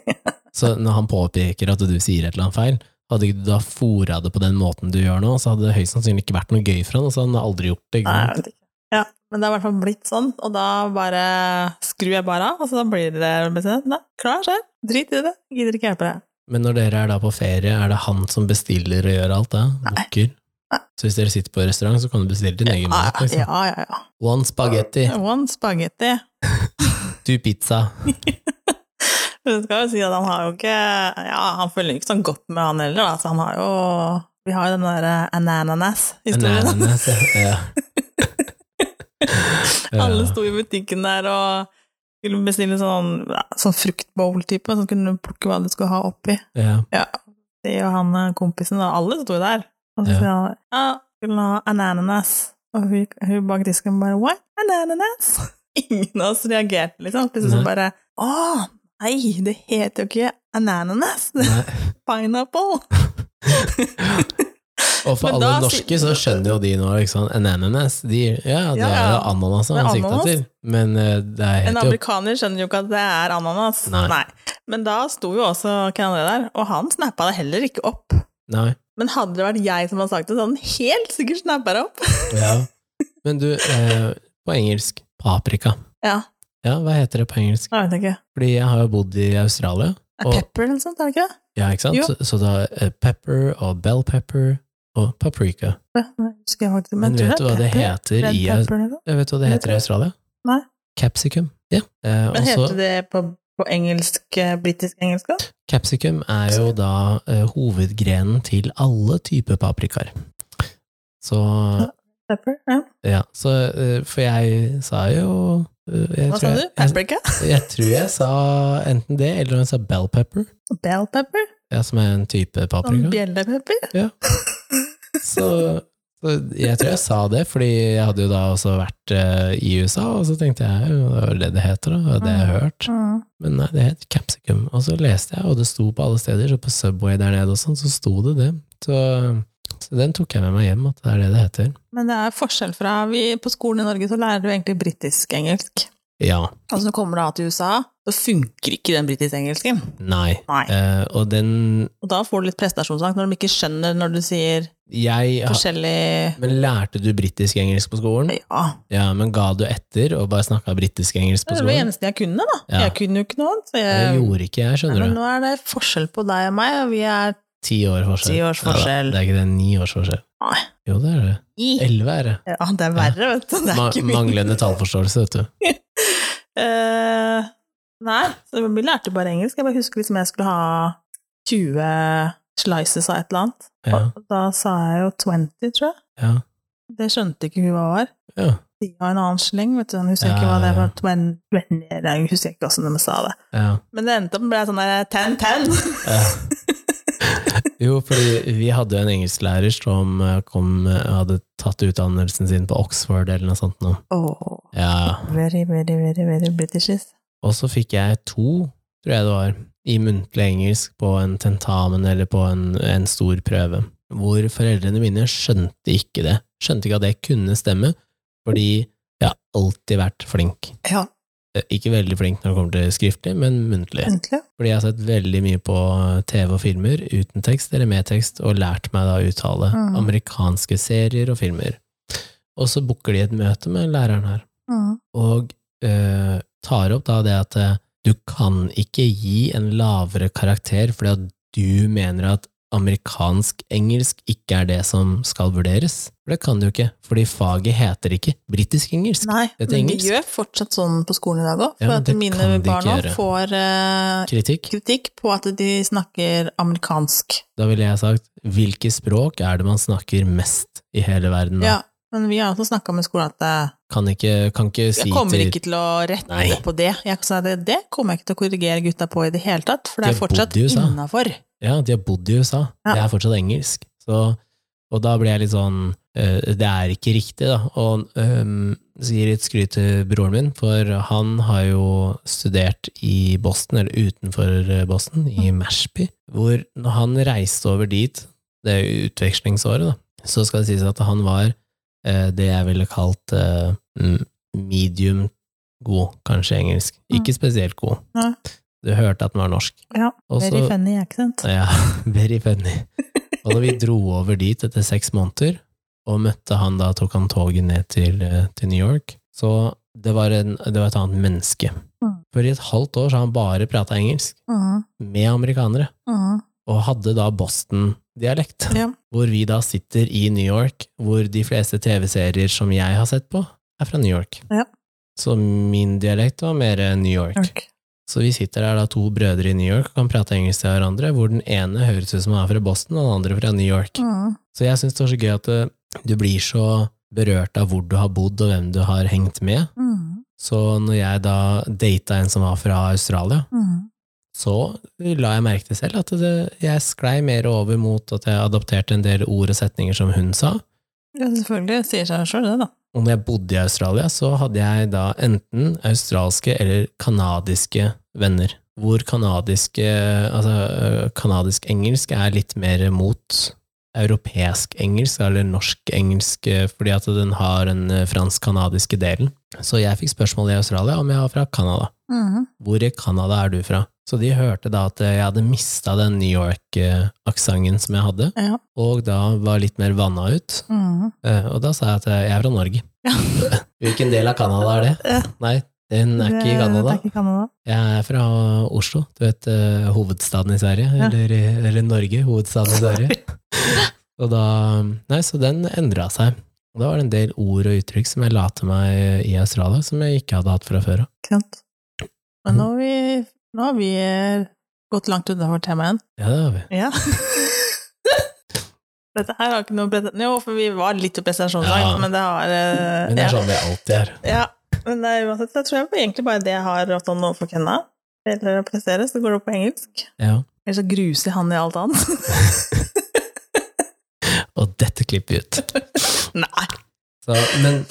Speaker 1: Så når han påpeker at du sier et eller annet feil, hadde ikke du da fora det på den måten du gjør nå, så hadde det høyst sannsynlig ikke vært noe gøy for han, og så hadde han aldri gjort det. Ikke
Speaker 2: Nei, jeg
Speaker 1: sant?
Speaker 2: vet ikke. Ja, men det har i hvert fall blitt sånn, og da bare skrur jeg bare av, og så da blir det bestemt. Nei, klar, skjer. Drit i det. Gidder ikke hjelpe deg.
Speaker 1: Men når dere er da på ferie, er det han som bestiller og gjør alt det? Booker?
Speaker 2: Nei.
Speaker 1: Så hvis dere sitter på restaurant, så kan du bestille din egen
Speaker 2: Ja,
Speaker 1: mat? Liksom.
Speaker 2: ja, ja, ja.
Speaker 1: One spagetti,
Speaker 2: One spagetti.
Speaker 1: two pizza.
Speaker 2: Men Du skal jo si at han har jo ikke Ja, han følger ikke sånn godt med han heller, da, så han har jo Vi har jo den eh, derre ananas-historien. da.
Speaker 1: Ananas, ja. Ja.
Speaker 2: Alle sto i butikken der og skulle bestille sånn, ja, sånn fruktbowl-type, som kunne plukke hva du skulle ha oppi.
Speaker 1: ja.
Speaker 2: Ja. Det og han eh, kompisen, og alle sto der. Og så
Speaker 1: Ja.
Speaker 2: sier han ja, skulle hun ha ananas. Og hun, hun bak disken bare what? Ananas? Ingen av oss reagerte, liksom. Plutselig så
Speaker 1: Nei.
Speaker 2: bare å nei, det heter jo ikke ananas, det er
Speaker 1: Nei.
Speaker 2: pineapple.
Speaker 1: Og for
Speaker 2: Men
Speaker 1: alle
Speaker 2: da si-
Speaker 1: norske så skjønner jo de nå ikke sant, en ananas. De, ja, det
Speaker 2: Ja,
Speaker 1: er
Speaker 2: ja.
Speaker 1: jo ananas
Speaker 2: Det
Speaker 1: han
Speaker 2: er
Speaker 1: sikta
Speaker 2: ananas.
Speaker 1: til, men eh, det er
Speaker 2: En
Speaker 1: helt jo
Speaker 2: amerikaner skjønner jo ikke at det er ananas.
Speaker 1: Nei.
Speaker 2: Men da sto jo også Kennedy der, og han snappa det heller ikke opp.
Speaker 1: Nei.
Speaker 2: Men hadde det vært jeg som hadde sagt det, så hadde han helt sikkert snappa det opp.
Speaker 1: Ja. Men du, eh, på engelsk paprika.
Speaker 2: Ja,
Speaker 1: Ja, hva heter det på engelsk?
Speaker 2: jeg vet ikke.
Speaker 1: Fordi jeg har jo bodd i Australia,
Speaker 2: Er
Speaker 1: Og-
Speaker 2: pepper eller noe sånt, er det ikke det?
Speaker 1: ja, ikke sant?
Speaker 2: Jo.
Speaker 1: Så, så da eh, pepper og bell pepper og paprika.
Speaker 2: Ja, det Husker jeg faktisk.
Speaker 1: Men
Speaker 2: jeg tror
Speaker 1: vet du hva det
Speaker 2: pepper.
Speaker 1: heter
Speaker 2: Red
Speaker 1: i
Speaker 2: pepper eller noe.
Speaker 1: Jeg vet du hva det heter i Australia?
Speaker 2: Nei.
Speaker 1: Capsicum. Ja. Eh,
Speaker 2: Men
Speaker 1: også-
Speaker 2: heter det på, på engelsk, eh, britisk engelsk da?
Speaker 1: Capsicum er jo da eh, hovedgrenen til alle typer paprikaer. Så
Speaker 2: Pepper? Ja.
Speaker 1: ja, så eh, For jeg sa jo eh, jeg
Speaker 2: Hva
Speaker 1: tror
Speaker 2: sa du?
Speaker 1: jeg, jeg,
Speaker 2: Paprika?
Speaker 1: jeg tror jeg sa enten det, eller jeg sa bell pepper,
Speaker 2: Bell pepper?
Speaker 1: ja, som er en type
Speaker 2: Sånn
Speaker 1: paprika.
Speaker 2: bjellepepper?
Speaker 1: Så, så jeg tror jeg sa det, fordi jeg hadde jo da også vært eh, i USA, og så tenkte jeg jo det var det det heter, da, og det har jeg hørt.
Speaker 2: Mm.
Speaker 1: Men nei, det het capsicum. Og så leste jeg, og det sto på alle steder, så på Subway der nede og sånn, så sto det det. Så, så den tok jeg med meg hjem, at det er det det heter.
Speaker 2: Men det er forskjell fra vi, På skolen i Norge så lærer du egentlig britisk engelsk.
Speaker 1: Ja.
Speaker 2: Og så kommer du da til USA, så funker ikke den britiske engelsken.
Speaker 1: Nei.
Speaker 2: Nei.
Speaker 1: Eh, og den
Speaker 2: Og da får du litt prestasjonsangst når de ikke skjønner når du sier
Speaker 1: Jeg ha-
Speaker 2: forskjellig
Speaker 1: Men lærte du britisk-engelsk på skolen?
Speaker 2: Ja.
Speaker 1: Ja, men ga du etter og bare snakka britisk-engelsk på
Speaker 2: Det var det
Speaker 1: skolen?
Speaker 2: eneste jeg kunne, da.
Speaker 1: Ja.
Speaker 2: Jeg kunne jo ikke noe annet. så
Speaker 1: Det
Speaker 2: Jeg,
Speaker 1: gjorde ikke jeg,
Speaker 2: Nei, men
Speaker 1: skjønner du.
Speaker 2: nå er det forskjell på deg og meg, og vi er
Speaker 1: Ti år forskjell.
Speaker 2: Ti års forskjell.
Speaker 1: Ja, det er ikke det. Ni års forskjell.
Speaker 2: Nei.
Speaker 1: Jo, det er det.
Speaker 2: i.
Speaker 1: Elleve er det.
Speaker 2: Ja, det er verre, vet du. Det er
Speaker 1: Ma
Speaker 2: ikke min.
Speaker 1: manglende tallforståelse, vet du.
Speaker 2: Eh, nei, så vi lærte bare engelsk. Jeg bare husker liksom jeg skulle ha 20 slices av et eller annet.
Speaker 1: Ja.
Speaker 2: Og da sa jeg jo 20, tror jeg.
Speaker 1: Ja.
Speaker 2: Det skjønte ikke hun hva var.
Speaker 1: ja.
Speaker 2: De har en annen sleng, vet du. Hun husker
Speaker 1: Ja,
Speaker 2: ikke hva det
Speaker 1: ja, ja.
Speaker 2: var. 20, 20, nei, hun husker ikke hvordan de sa det.
Speaker 1: ja.
Speaker 2: Men det endte opp med å bli sånn der 10, 10.
Speaker 1: Ja. Eh. Jo, fordi vi hadde jo en engelsklærer som eh, kom, eh, hadde tatt utdannelsen sin på Oxford eller noe sånt nå.
Speaker 2: Åh.
Speaker 1: Ja.
Speaker 2: Very, very, very, very Britishes.
Speaker 1: Og så fikk jeg to, tror jeg det var, i muntlig engelsk på en tentamen eller på en, en stor prøve, hvor foreldrene mine skjønte ikke det. Skjønte ikke at det kunne stemme, fordi jeg har alltid vært flink.
Speaker 2: Ja,
Speaker 1: Eh, Ikke veldig flink når det kommer til skriftlig, men muntlig.
Speaker 2: egentlig.
Speaker 1: Fordi jeg har sett veldig mye på TV og filmer uten tekst eller med tekst, og lært meg da å uttale
Speaker 2: Mhm.
Speaker 1: amerikanske serier og filmer. Og så booker de et møte med læreren her
Speaker 2: Mm.
Speaker 1: og eh, tar opp da det at eh, du kan ikke gi en lavere karakter fordi at du mener at amerikansk-engelsk ikke er det som skal vurderes. For det kan du ikke, fordi faget heter ikke britisk-engelsk.
Speaker 2: Nei,
Speaker 1: Dette er
Speaker 2: men de
Speaker 1: engelsk.
Speaker 2: gjør fortsatt sånn på skolen i dag òg.
Speaker 1: Ja,
Speaker 2: For
Speaker 1: men
Speaker 2: at
Speaker 1: det
Speaker 2: mine
Speaker 1: kan de
Speaker 2: barn
Speaker 1: ikke
Speaker 2: nå
Speaker 1: gjøre.
Speaker 2: får eh,
Speaker 1: Kritikk.
Speaker 2: kritikk på at de snakker amerikansk.
Speaker 1: Da ville jeg sagt hvilke språk er det man snakker mest i hele verden? nå?
Speaker 2: Ja, men vi har også snakka med skolen at eh,
Speaker 1: Kan ikke, kan ikke si
Speaker 2: jeg kommer
Speaker 1: til
Speaker 2: ikke til å rette
Speaker 1: Nei.
Speaker 2: på det. Jeg sa det, det kommer jeg ikke til å korrigere gutta på i det hele tatt, for det
Speaker 1: De
Speaker 2: er
Speaker 1: har
Speaker 2: fortsatt
Speaker 1: bodd i USA.
Speaker 2: innafor.
Speaker 1: Ja, de har bodd i USA.
Speaker 2: Ja.
Speaker 1: Det er fortsatt engelsk. Så, og da blir jeg litt sånn eh, Det er ikke riktig, da. Og um, så gir jeg litt skryt til broren min, for han har jo studert i Boston, eller utenfor eh, Boston, i Mashpee, hvor når han reiste over dit, det er jo utvekslingsåret, da, så skal det sies at han var eh, det jeg ville kalt eh, mm, medium god, kanskje i engelsk. Ikke spesielt god.
Speaker 2: Mm. Nei.
Speaker 1: Du hørte at den var norsk.
Speaker 2: Ja,
Speaker 1: Og
Speaker 2: Very
Speaker 1: så-
Speaker 2: funny accent.
Speaker 1: ja, very funny. Og da vi dro over dit etter seks måneder, og møtte han da, tok han toget ned til, eh, til New York, så det var, en, det var et annet menneske.
Speaker 2: Mm.
Speaker 1: For i et halvt år så har han bare prata engelsk,
Speaker 2: Mhm,
Speaker 1: med amerikanere,
Speaker 2: mhm.
Speaker 1: og hadde da Boston-dialekt.
Speaker 2: Ja.
Speaker 1: Hvor vi da sitter i New York, hvor de fleste TV-serier som jeg har sett på, er fra New York.
Speaker 2: Ja.
Speaker 1: Så min dialekt var mer eh, New York.
Speaker 2: York.
Speaker 1: Så vi sitter der da to brødre i New York og kan prate engelsk til hverandre, hvor den ene høres ut som han er fra Boston, og den andre fra New York.
Speaker 2: Mhm.
Speaker 1: Så jeg syns det var så gøy at eh, du blir så berørt av hvor du har bodd og hvem du har hengt med.
Speaker 2: Mhm.
Speaker 1: Så når jeg da data en som var fra Australia,
Speaker 2: Mhm.
Speaker 1: så la jeg merke til selv at det, jeg sklei mer over mot at jeg adopterte en del ord og setninger som hun sa.
Speaker 2: Ja, selvfølgelig. Sier seg sjøl det, da.
Speaker 1: Og når jeg bodde i Australia, så hadde jeg da enten australske eller kanadiske venner. Hvor kanadiske Altså, øh, kanadisk-engelsk er litt mer mot europeisk-engelsk, eller norsk-engelsk, øh, fordi at den har den øh, fransk-kanadiske delen. Så jeg fikk spørsmål i Australia om jeg var fra Canada.
Speaker 2: Mhm.
Speaker 1: Hvor i Canada er du fra? Så de hørte da at øh, jeg hadde mista den New York-aksenten som jeg hadde,
Speaker 2: Ja.
Speaker 1: og da var litt mer vanna ut.
Speaker 2: Mhm.
Speaker 1: Eh, Og da sa jeg at eh, jeg er fra Norge.
Speaker 2: Ja.
Speaker 1: Hvilken del av Canada er det?
Speaker 2: Ja.
Speaker 1: Nei, den er ikke i
Speaker 2: Det- Det
Speaker 1: Canada.
Speaker 2: er ikke i Canada.
Speaker 1: Jeg er fra Oslo, du vet, eh, hovedstaden i Sverige.
Speaker 2: Ja.
Speaker 1: Eller, eller Norge, hovedstaden i Sverige. Og da Nei, så den endra seg. Og da var det en del ord og uttrykk som jeg la til meg i Australia, som jeg ikke hadde hatt fra før av.
Speaker 2: Ikke sant? Men nå har vi, nå har vi eh, gått langt utenfor temaet igjen.
Speaker 1: Ja, det har vi.
Speaker 2: Ja. Dette her har ikke noe prestasjon... Jo, for vi var litt i prestasjonsangst,
Speaker 1: Ja.
Speaker 2: men det har eh,
Speaker 1: Men det er sånn vi alltid er.
Speaker 2: Ja. ja. Men det er uansett, jeg tror jeg egentlig bare det jeg har hatt noe for Kenna. Eller å prestere, så går det opp på engelsk.
Speaker 1: Ja.
Speaker 2: Eller så gruser han i alt annet.
Speaker 1: Og dette klipper vi ut.
Speaker 2: Nei.
Speaker 1: Så, men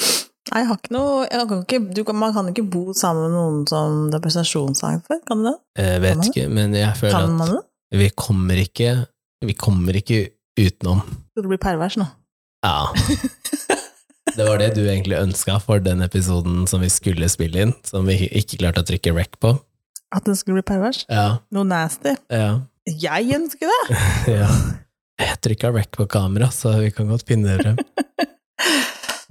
Speaker 2: Nei, jeg har ikke noe jeg kan ikke, du kan, Man kan ikke bo sammen med noen som det er prestasjonsangst for, kan du det?
Speaker 1: jeg
Speaker 2: Kan man
Speaker 1: eh, vet ikke, men jeg føler
Speaker 2: Kan
Speaker 1: at
Speaker 2: man det?
Speaker 1: vi kommer ikke, vi kommer ikke utenom.
Speaker 2: Skal du bli pervers nå?
Speaker 1: Ja. Det var det du egentlig ønska for den episoden som vi skulle spille inn, som vi ikke klarte å trykke rec på.
Speaker 2: At den skulle bli pervers?
Speaker 1: Ja,
Speaker 2: Noe nasty?
Speaker 1: ja,
Speaker 2: Jeg ønsker det!
Speaker 1: ja. Jeg trykka rec på kamera, så vi kan godt finne det frem.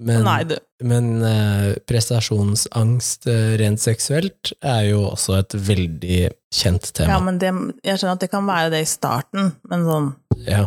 Speaker 1: Men,
Speaker 2: Nei, du.
Speaker 1: men eh, prestasjonsangst eh, rent seksuelt er jo også et veldig kjent
Speaker 2: Ja,
Speaker 1: tema.
Speaker 2: men det, jeg skjønner at det kan være det i starten, men sånn,
Speaker 1: Ja.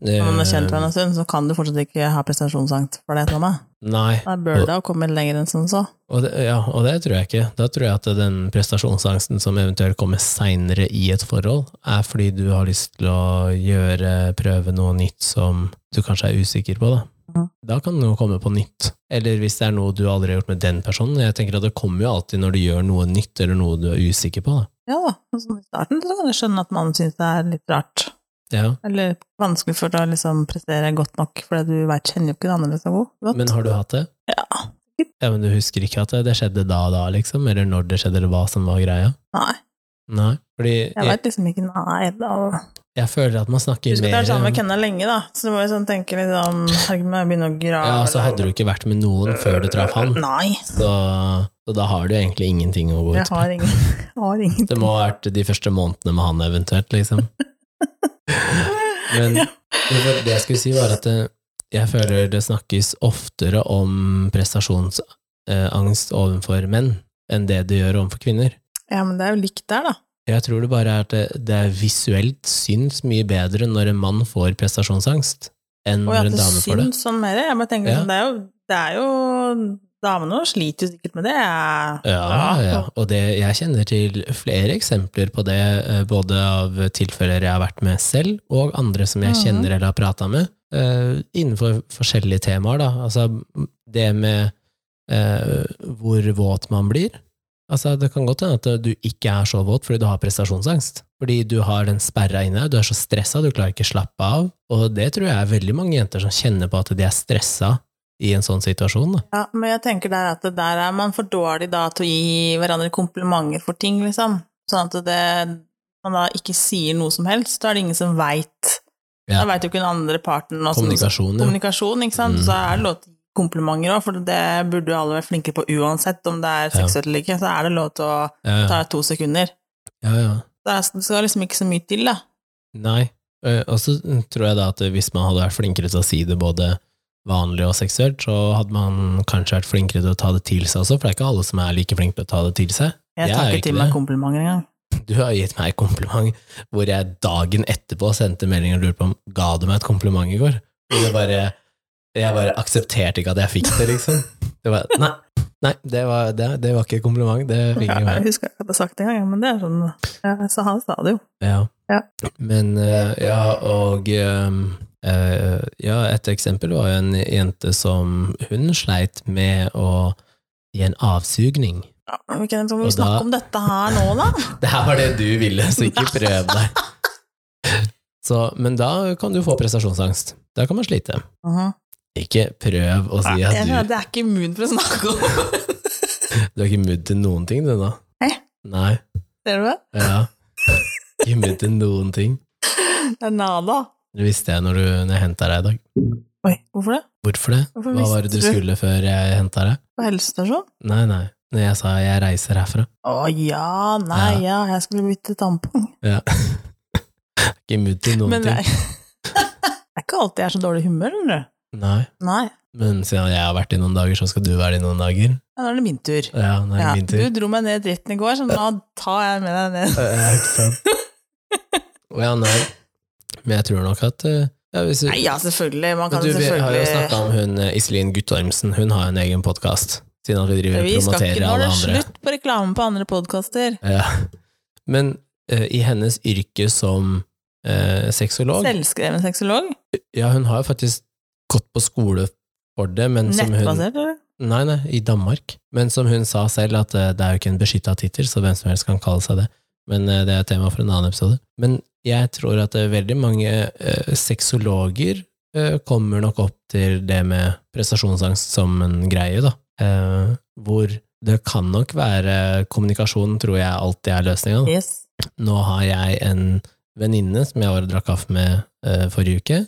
Speaker 2: når man har
Speaker 1: Eh,
Speaker 2: kjent hverandre en stund, så kan du fortsatt ikke ha prestasjonsangst for det. Tommy.
Speaker 1: Nei.
Speaker 2: Da bør det ha kommet lenger enn som så.
Speaker 1: Og det, ja, og det tror jeg ikke. Da tror jeg at den prestasjonsangsten som eventuelt kommer seinere i et forhold, er fordi du har lyst til å gjøre, prøve noe nytt som du kanskje er usikker på, da.
Speaker 2: Mhm.
Speaker 1: Da kan noe komme på nytt. Eller hvis det er noe du aldri har gjort med den personen. Jeg tenker at det kommer jo alltid når du gjør noe nytt eller noe du er usikker på, da.
Speaker 2: Ja da, men sånn i starten så kan jeg skjønne at man syns det er litt rart.
Speaker 1: Ja.
Speaker 2: Eller vanskelig for å liksom prestere godt nok, fordi du vet, kjenner jo ikke den andre så god. godt.
Speaker 1: Men har du hatt det?
Speaker 2: Ja, sikkert.
Speaker 1: Ja, men du husker ikke at det- det skjedde da og da, liksom? Eller når det skjedde, eller hva som var greia?
Speaker 2: Nei.
Speaker 1: Nei. Fordi
Speaker 2: Jeg
Speaker 1: jeg,
Speaker 2: veit liksom ikke Nei, da
Speaker 1: jeg føler at man snakker
Speaker 2: Husk at
Speaker 1: mer
Speaker 2: jeg er sammen med
Speaker 1: om-
Speaker 2: Kenna lenge, da, så du må jo sånn tenke litt om Herregud, må jeg begynne å grave
Speaker 1: Ja, så hadde du ikke vært med noen før du traff han.
Speaker 2: Nei,
Speaker 1: Så, så da har du egentlig ingenting å gå
Speaker 2: jeg
Speaker 1: ut på.
Speaker 2: har ingen. jeg Har ingen.
Speaker 1: Det må ha vært de første månedene med han eventuelt, liksom. Men
Speaker 2: Ja.
Speaker 1: det det jeg skulle si var at det, jeg føler det snakkes oftere om prestasjonsangst overfor menn enn det det gjør overfor kvinner.
Speaker 2: Ja, men det er jo likt der, da.
Speaker 1: Jeg tror det bare er at det, det er visuelt syns mye bedre når en mann får prestasjonsangst enn
Speaker 2: Og at
Speaker 1: når en
Speaker 2: det
Speaker 1: dame får det.
Speaker 2: syns sånn mer. Jeg bare tenker
Speaker 1: Ja.
Speaker 2: sånn, det er jo, det er jo Damene våre sliter jo sikkert med det.
Speaker 1: Ja, ja, og det, jeg kjenner til flere eksempler på det, eh, både av tilfeller jeg har vært med selv, og andre som jeg
Speaker 2: Mhm.
Speaker 1: kjenner eller har prata med, eh, innenfor forskjellige temaer. Da. Altså det med eh, hvor våt man blir. Altså, det kan godt hende at du ikke er så våt fordi du har prestasjonsangst. Fordi du har den sperra inne, du er så stressa, du klarer ikke slappe av. Og det tror jeg er veldig mange jenter som kjenner på at de er stressa i en sånn situasjon. Da.
Speaker 2: Ja, men jeg tenker der at det der er man for dårlig da til å gi hverandre komplimenter for ting, liksom. Sånn at det, man da ikke sier noe som helst, da er det ingen som veit.
Speaker 1: Ja.
Speaker 2: Da veit jo ikke den andre parten hva som-
Speaker 1: Kommunikasjon, ja.
Speaker 2: kommunikasjon, ikke sant.
Speaker 1: Mm.
Speaker 2: Så er det lov til å gi komplimenter òg, for det burde jo alle være flinkere på uansett om det er
Speaker 1: Ja.
Speaker 2: seksuelt eller ikke. Så er det lov til å
Speaker 1: Ja, ja.
Speaker 2: ta to sekunder.
Speaker 1: ja, ja.
Speaker 2: Det er- det skal liksom ikke så mye til, da.
Speaker 1: Nei. Eh, Og så tror jeg da at hvis man hadde vært flinkere til å si det både vanlig og seksuelt, så hadde man kanskje vært flinkere til å ta det til seg også, for det er ikke alle som er like flinke til å ta det til seg.
Speaker 2: Jeg
Speaker 1: Jeg
Speaker 2: tar
Speaker 1: er
Speaker 2: ikke
Speaker 1: ikke
Speaker 2: til
Speaker 1: det.
Speaker 2: meg komplimenter engang.
Speaker 1: Du har gitt meg et kompliment hvor jeg dagen etterpå sendte melding og lurte på om ga du meg et kompliment i går. Og det bare, jeg bare aksepterte ikke at jeg fikk det, liksom. Det var, nei, nei det, var, det, det var ikke et kompliment, det fikk
Speaker 2: Ja,
Speaker 1: ikke meg.
Speaker 2: jeg husker ikke at jeg har sagt det engang, men det er sånn ja, Så han sa det jo.
Speaker 1: Ja.
Speaker 2: Ja.
Speaker 1: Men eh, ja, og ehm, eh, ja, et eksempel var jo en jente som hun sleit med å gi en avsugning.
Speaker 2: Ja, men vi kan vi
Speaker 1: Og da-
Speaker 2: snakke om dette her nå, da.
Speaker 1: Det her var det du ville, så ikke prøv deg. Så, men da kan du få prestasjonsangst. Da kan man slite.
Speaker 2: Mhm.
Speaker 1: Ikke prøv å si
Speaker 2: Jeg mener,
Speaker 1: at du,
Speaker 2: det er ikke immun for å snakke om.
Speaker 1: du er ikke mudd til noen ting, du nå.
Speaker 2: Hæ?
Speaker 1: Nei.
Speaker 2: Ser du det?
Speaker 1: Ja. Ikke mudd til noen ting.
Speaker 2: Det er nada.
Speaker 1: Det visste jeg når, du, når jeg henta deg i dag.
Speaker 2: Oi, hvorfor det?
Speaker 1: Hvorfor det?
Speaker 2: Hvorfor
Speaker 1: Hva var det
Speaker 2: visste
Speaker 1: du
Speaker 2: du?
Speaker 1: skulle før jeg henta deg?
Speaker 2: På helsestasjon?
Speaker 1: Nei, nei. Når jeg sa jeg reiser herfra.
Speaker 2: Å ja, nei ja, jeg skulle bytte tampong.
Speaker 1: Ja. ikke imot til noen
Speaker 2: Men det
Speaker 1: ting.
Speaker 2: er, det er ikke alltid jeg er så dårlig i humør, eller?
Speaker 1: Nei.
Speaker 2: Nei.
Speaker 1: Men siden jeg har vært i noen dager, så skal du være i noen dager.
Speaker 2: Ja, nå er det min tur.
Speaker 1: Ja, nå er det
Speaker 2: Ja,
Speaker 1: min tur.
Speaker 2: du dro meg ned i dritten i går, så nå tar jeg med deg ned.
Speaker 1: Ja, eh, ikke sant? Å ja, nei. Men jeg tror nok at eh, ja, hvis du,
Speaker 2: Nei, ja, selvfølgelig. Man
Speaker 1: Men
Speaker 2: kan
Speaker 1: du, Vi har jo
Speaker 2: selvfølgelig
Speaker 1: snakka om hun eh, Iselin Guttormsen, hun har en egen podkast. Siden at vi driver og
Speaker 2: Vi skal ikke
Speaker 1: promoterer
Speaker 2: nå er
Speaker 1: alle
Speaker 2: det
Speaker 1: andre.
Speaker 2: slutt på reklame på andre podkaster.
Speaker 1: Ja. Men eh, i hennes yrke som uh, sexolog
Speaker 2: Selvskreven sexolog?
Speaker 1: Ja, hun har jo faktisk gått på skole for det, men som hun
Speaker 2: Nettbasert, eller?
Speaker 1: Nei, nei, i Danmark. Men som hun sa selv, at eh, det er jo ikke en beskytta tittel, så hvem som helst kan kalle seg det. Men eh, det er tema for en annen episode. Men jeg tror at det er veldig mange eh, sexologer eh, kommer nok opp til det med prestasjonsangst som en greie, da. Eh, hvor det kan nok være kommunikasjon, tror jeg alltid er løsninga.
Speaker 2: Yes.
Speaker 1: Nå har jeg en venninne som jeg var og drakk kaffe med eh, forrige uke,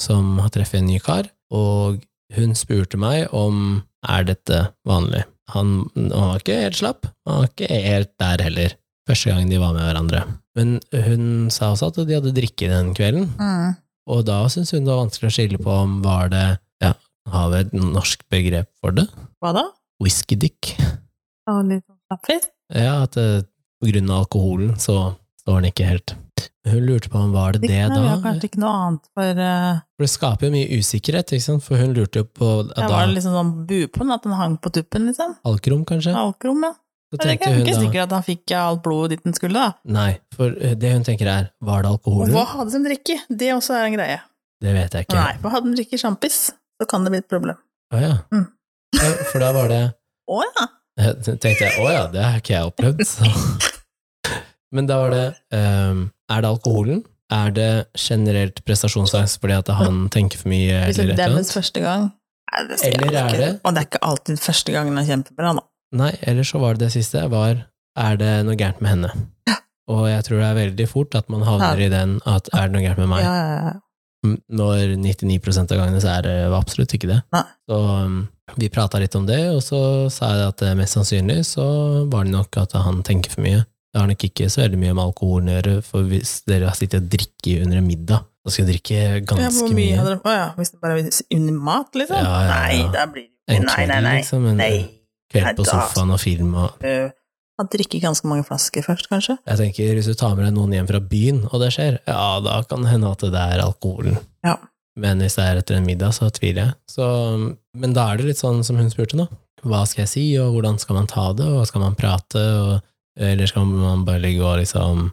Speaker 1: som har treffet en ny kar, og hun spurte meg om er dette vanlig. Han, han var ikke helt slapp, han var ikke helt der heller, første gang de var med hverandre. Men hun sa også at de hadde drikke den kvelden,
Speaker 2: Mm.
Speaker 1: og da syntes hun det var vanskelig å skille på om var det ja, Har vi et norsk begrep for det?
Speaker 2: Hva da?
Speaker 1: Whiskydick?
Speaker 2: Ja, litt sånn slappfisk?
Speaker 1: Ja, at eh, på grunn av alkoholen så står den ikke helt. Hun lurte på om var det det
Speaker 2: Diktene vil jo
Speaker 1: da?
Speaker 2: kanskje ikke noe annet for eh,
Speaker 1: For det skaper jo mye usikkerhet, ikke sant? For hun lurte jo på at
Speaker 2: ja,
Speaker 1: da
Speaker 2: Var det liksom sånn bue på den, at den hang på tuppen, liksom?
Speaker 1: alkrom, kanskje?
Speaker 2: Alkrom, ja.
Speaker 1: Så
Speaker 2: Jeg er
Speaker 1: tenkte
Speaker 2: ikke,
Speaker 1: hun
Speaker 2: ikke
Speaker 1: da
Speaker 2: sikker at han fikk eh, alt blodet dit den skulle, da.
Speaker 1: Nei, for eh, det hun tenker er var det
Speaker 2: Og hva
Speaker 1: alkoholen?
Speaker 2: hadde de drikke? Det også er en greie.
Speaker 1: Det vet jeg ikke.
Speaker 2: Nei, for hadde de drikke sjampis, så kan det bli et problem.
Speaker 1: Å ja.
Speaker 2: Mm.
Speaker 1: ja. For da var det
Speaker 2: Å ja!
Speaker 1: eh, Tenkte jeg å ja, det har ikke jeg opplevd, så Men da var det ehm, Er det alkoholen? Er det generelt prestasjonsangst fordi at han tenker for mye?
Speaker 2: Hvis
Speaker 1: eller et
Speaker 2: Liksom det
Speaker 1: eller
Speaker 2: demmes
Speaker 1: annet?
Speaker 2: første gang. Nei, det ser jeg
Speaker 1: Eller er
Speaker 2: ikke.
Speaker 1: det-
Speaker 2: Og det er ikke alltid første gangen er kjempebra, da.
Speaker 1: Nei, ellers så var det det siste, var er det noe gærent med henne? Og jeg tror det er veldig fort at man havner i den at er det noe gærent med meg?
Speaker 2: Ja, ja, ja.
Speaker 1: M- Når 99 av gangene så er det absolutt ikke det.
Speaker 2: Nei.
Speaker 1: Så um, vi prata litt om det, og så sa jeg at eh, mest sannsynlig så var det nok at han tenker for mye. Det har nok ikke så veldig mye med alkoholen å gjøre, for hvis dere har sittet og drikket under en middag, da skal dere drikke
Speaker 2: Ja,
Speaker 1: ganske
Speaker 2: hvor mye
Speaker 1: mye.
Speaker 2: hadde dere Å ja, hvis det bare var under mat, liksom?
Speaker 1: Ja, ja, ja.
Speaker 2: Nei, da blir det
Speaker 1: En
Speaker 2: Nei,
Speaker 1: kveld,
Speaker 2: nei, nei.
Speaker 1: liksom. En
Speaker 2: nei.
Speaker 1: kveld på
Speaker 2: Nei, da-
Speaker 1: sofaen og film og
Speaker 2: Øh, Han drikker ganske mange flasker først, kanskje?
Speaker 1: Jeg tenker, hvis du tar med deg noen hjem fra byen, og det skjer, ja, da kan det hende at det er alkoholen.
Speaker 2: Ja.
Speaker 1: Men hvis det er etter en middag, så tviler jeg. Så, men da er det litt sånn som hun spurte nå. Hva skal jeg si, og hvordan skal man ta det, og skal man prate, og, eller skal man bare ligge og liksom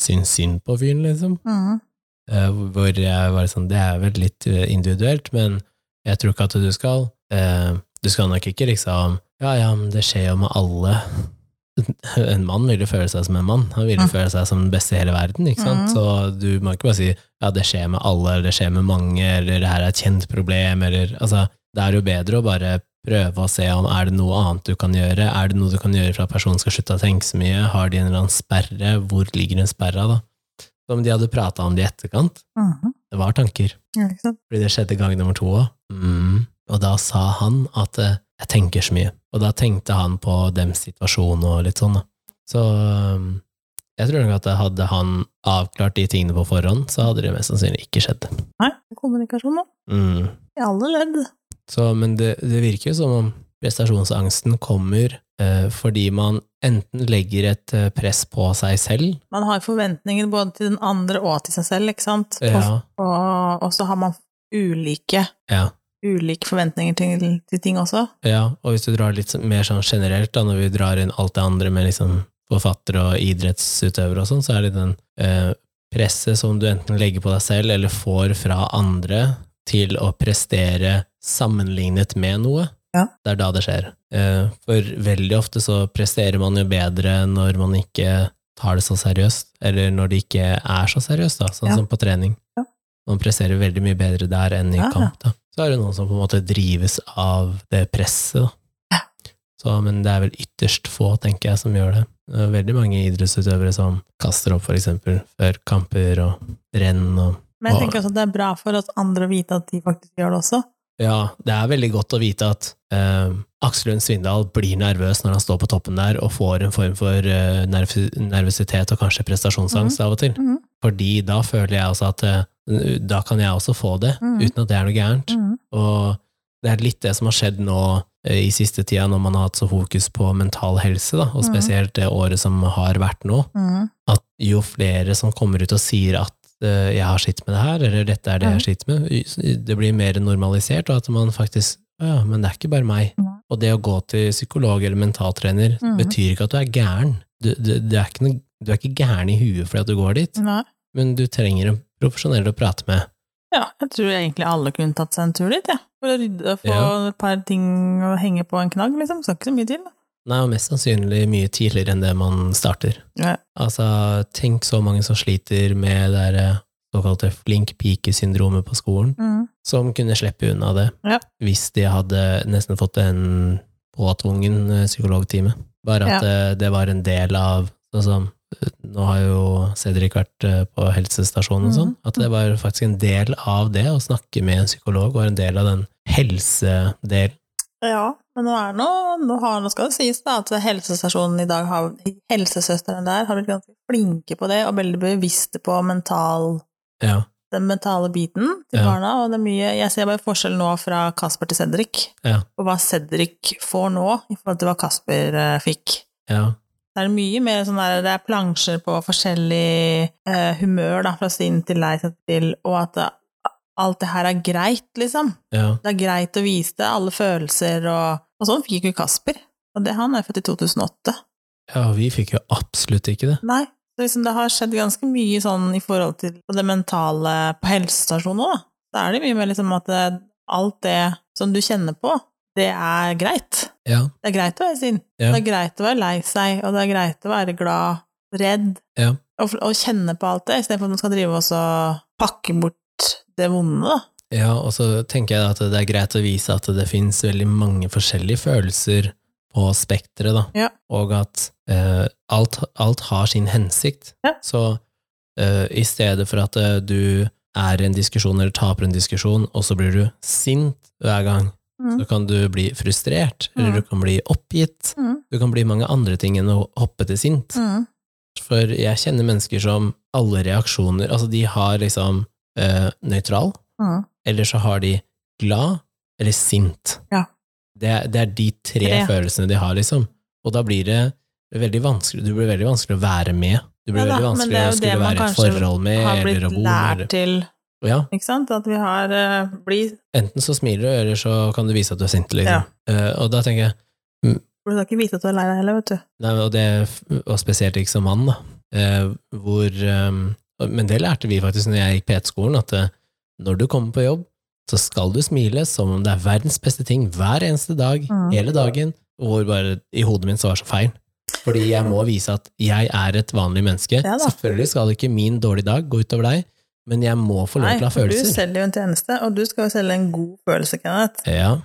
Speaker 1: synes synd på fyren, liksom?
Speaker 2: Mhm.
Speaker 1: Eh, Hvor jeg var sånn, det er vel litt eh, individuelt, men jeg tror ikke at du skal eh, Du skal nok ikke liksom Ja, ja, men det skjer jo med alle. En mann vil jo føle seg som en mann. Han vil jo
Speaker 2: Mm.
Speaker 1: føle seg som den beste i hele verden. ikke sant?
Speaker 2: Mm.
Speaker 1: Så du må ikke bare si ja, det skjer med alle, eller det skjer med mange, eller det her er et kjent problem, eller altså, Det er jo bedre å bare prøve å se om er det noe annet du kan gjøre. Er det noe du kan gjøre for at personen skal slutte å tenke så mye? Har de en eller annen sperre? Hvor ligger den sperra, da? Som de hadde prata om det i etterkant.
Speaker 2: Mhm.
Speaker 1: Det var tanker,
Speaker 2: Ja, ikke sant?
Speaker 1: fordi det skjedde gang nummer to òg. Mm. Og da sa han at eh, 'jeg tenker så mye', og da tenkte han på dems situasjon og litt sånn, da. Så um, jeg tror nok at hadde han avklart de tingene på forhånd, så hadde det mest sannsynlig ikke skjedd.
Speaker 2: Nei, kommunikasjon, da.
Speaker 1: Mm.
Speaker 2: I alle ledd.
Speaker 1: Så, men det, det virker jo som om prestasjonsangsten kommer eh, fordi man enten legger et eh, press på seg selv,
Speaker 2: Man har forventninger både til den andre og til seg selv, ikke sant? Og,
Speaker 1: ja,
Speaker 2: og, og så har man ulike,
Speaker 1: ja,
Speaker 2: ulike forventninger til, til ting også.
Speaker 1: Ja, og hvis du drar litt sånn- mer sånn generelt, da, når vi drar inn alt det andre med liksom forfattere og idrettsutøvere og sånn, så er det den eh, presset som du enten legger på deg selv eller får fra andre til å prestere sammenlignet med noe.
Speaker 2: Ja.
Speaker 1: Det er da det skjer. Eh, for veldig ofte så presterer man jo bedre når man ikke tar det så seriøst, eller når det ikke er så seriøst, da, sånn
Speaker 2: Ja.
Speaker 1: som på trening.
Speaker 2: Ja.
Speaker 1: Man presterer veldig mye bedre der enn i
Speaker 2: Ja, ja.
Speaker 1: kamp. Da. Så er det noen som på en måte drives av det presset. Da. Så, men det er vel ytterst få, tenker jeg, som gjør det. Det er veldig mange idrettsutøvere som kaster opp, for eksempel, før kamper og renn og
Speaker 2: Men jeg
Speaker 1: Og-
Speaker 2: tenker også at det er bra for oss andre å vite at de faktisk gjør det også.
Speaker 1: Ja, det er veldig godt å vite at eh, Aksel Lund Svindal blir nervøs når han står på toppen der og får en form for eh, nerv nervøsitet og kanskje prestasjonsangst av og til.
Speaker 2: Mhm.
Speaker 1: Fordi da føler jeg også at eh, da kan jeg også få det,
Speaker 2: Mhm.
Speaker 1: uten at det er noe gærent.
Speaker 2: Mhm.
Speaker 1: Og det er litt det som har skjedd nå eh, i siste tida, når man har hatt så fokus på mental helse, da, og
Speaker 2: Mhm.
Speaker 1: spesielt det året som har vært nå,
Speaker 2: Mhm.
Speaker 1: at jo flere som kommer ut og sier at eh, jeg har slitt med det her, eller dette er det jeg har slitt med, det blir mer normalisert, og at man faktisk «Å ja, men det er ikke bare meg.
Speaker 2: Nei.
Speaker 1: Og det å gå til psykolog eller mentaltrener
Speaker 2: Mhm.
Speaker 1: betyr ikke at du er gæren. Du, du, du, er ikke noe, du er ikke gæren i huet fordi at du går dit,
Speaker 2: Nei.
Speaker 1: men du trenger en profesjonell å prate med.
Speaker 2: Ja, jeg tror egentlig alle kunne tatt seg en tur dit, ja. For å rydde og få
Speaker 1: Ja.
Speaker 2: et par ting å henge på en knagg, liksom. Skal ikke så mye til. da.
Speaker 1: Nei, og mest sannsynlig mye tidligere enn det man starter.
Speaker 2: Ja.
Speaker 1: Altså, tenk så mange som sliter med det der, eh, såkalte flink pike-syndromet på skolen.
Speaker 2: Mhm.
Speaker 1: som kunne slippe unna det
Speaker 2: Ja.
Speaker 1: hvis de hadde nesten fått en påtvungen eh, psykologtime. Bare at eh, det var en del av sånn som, eh, Nå har jo Cedric vært eh, på helsestasjonen og sånn.
Speaker 2: Mhm.
Speaker 1: At det var faktisk en del av det å snakke med en psykolog, var en del av den helsedelen.
Speaker 2: Ja, men nå, er det noe, nå, har, nå skal det sies da at helsestasjonen i dag har helsesøstrene der har blitt ganske flinke på det, og veldig bevisste på mental,
Speaker 1: Ja.
Speaker 2: den mentale biten til
Speaker 1: Ja.
Speaker 2: barna. Og det er mye, jeg ser bare forskjell nå fra Kasper til Cedric,
Speaker 1: Ja.
Speaker 2: og hva Cedric får nå i forhold til hva Kasper eh, fikk.
Speaker 1: ja.
Speaker 2: Det er mye mer sånn der, det er plansjer på forskjellig eh, humør, da, fra sint til lei seg til, og at eh, alt det her er greit, liksom
Speaker 1: Ja.
Speaker 2: det er greit å vise det, alle følelser og Og sånn fikk jo Kasper. Og det, han er født i 2008.
Speaker 1: ja, og vi fikk jo absolutt ikke det.
Speaker 2: Nei. Så liksom det har skjedd ganske mye sånn i forhold til på det mentale på helsestasjonen òg, da. Da er det mye mer liksom at det, alt det som du kjenner på, det er greit.
Speaker 1: Ja.
Speaker 2: Det er greit å være sint,
Speaker 1: Ja.
Speaker 2: det er greit å være lei seg, og det er greit å være glad, redd,
Speaker 1: Ja.
Speaker 2: og, og kjenne på alt det, istedenfor at man skal drive og så pakke bort det vonde, da.
Speaker 1: Ja, og så tenker jeg at det er greit å vise at det finnes veldig mange forskjellige følelser på spekteret, da.
Speaker 2: Ja.
Speaker 1: Og at eh, alt, alt har sin hensikt.
Speaker 2: Ja.
Speaker 1: Så eh, i stedet for at eh, du er i en diskusjon eller taper en diskusjon, og så blir du sint hver gang,
Speaker 2: Mm.
Speaker 1: så kan du bli frustrert,
Speaker 2: Mm.
Speaker 1: eller du kan bli oppgitt.
Speaker 2: Mm.
Speaker 1: Du kan bli mange andre ting enn å hoppe til sint.
Speaker 2: Mm.
Speaker 1: For jeg kjenner mennesker som alle reaksjoner Altså, de har liksom eh, nøytral,
Speaker 2: Mm.
Speaker 1: eller så har de glad eller sint.
Speaker 2: Ja.
Speaker 1: Det, er- det er de tre
Speaker 2: Tre.
Speaker 1: følelsene de har, liksom. Og da blir det veldig vanskelig, du blir veldig vanskelig å være med. Du blir
Speaker 2: Ja da,
Speaker 1: veldig
Speaker 2: men
Speaker 1: vanskelig
Speaker 2: det er
Speaker 1: å
Speaker 2: jo det
Speaker 1: skulle
Speaker 2: man
Speaker 1: være i et
Speaker 2: kanskje
Speaker 1: forhold med,
Speaker 2: Har
Speaker 1: eller
Speaker 2: blitt
Speaker 1: å bo
Speaker 2: lært
Speaker 1: med.
Speaker 2: til,
Speaker 1: eller- Ja,
Speaker 2: ikke sant, at vi har eh, blitt
Speaker 1: enten så smiler du, eller så kan du vise at du er sint, liksom.
Speaker 2: Ja.
Speaker 1: Eh, og da tenker jeg,
Speaker 2: Du skal ikke vite at du er lei deg heller, vet du.
Speaker 1: nei, og, det, og spesielt ikke som mann, da, eh, hvor eh, Men det lærte vi faktisk når jeg gikk PT-skolen, at eh, når du kommer på jobb, så skal du smile som om det er verdens beste ting hver eneste dag,
Speaker 2: Mm.
Speaker 1: hele dagen, og hvor bare i hodet mitt så var det så feil. Fordi jeg må vise at jeg er et vanlig menneske.
Speaker 2: Ja da.
Speaker 1: Selvfølgelig skal ikke min dårlige dag gå utover deg, men jeg må få lov til å ha
Speaker 2: for du
Speaker 1: følelser.
Speaker 2: selger jo en tjeneste, og du skal jo selge en god følelse, Kenneth.
Speaker 1: Ja,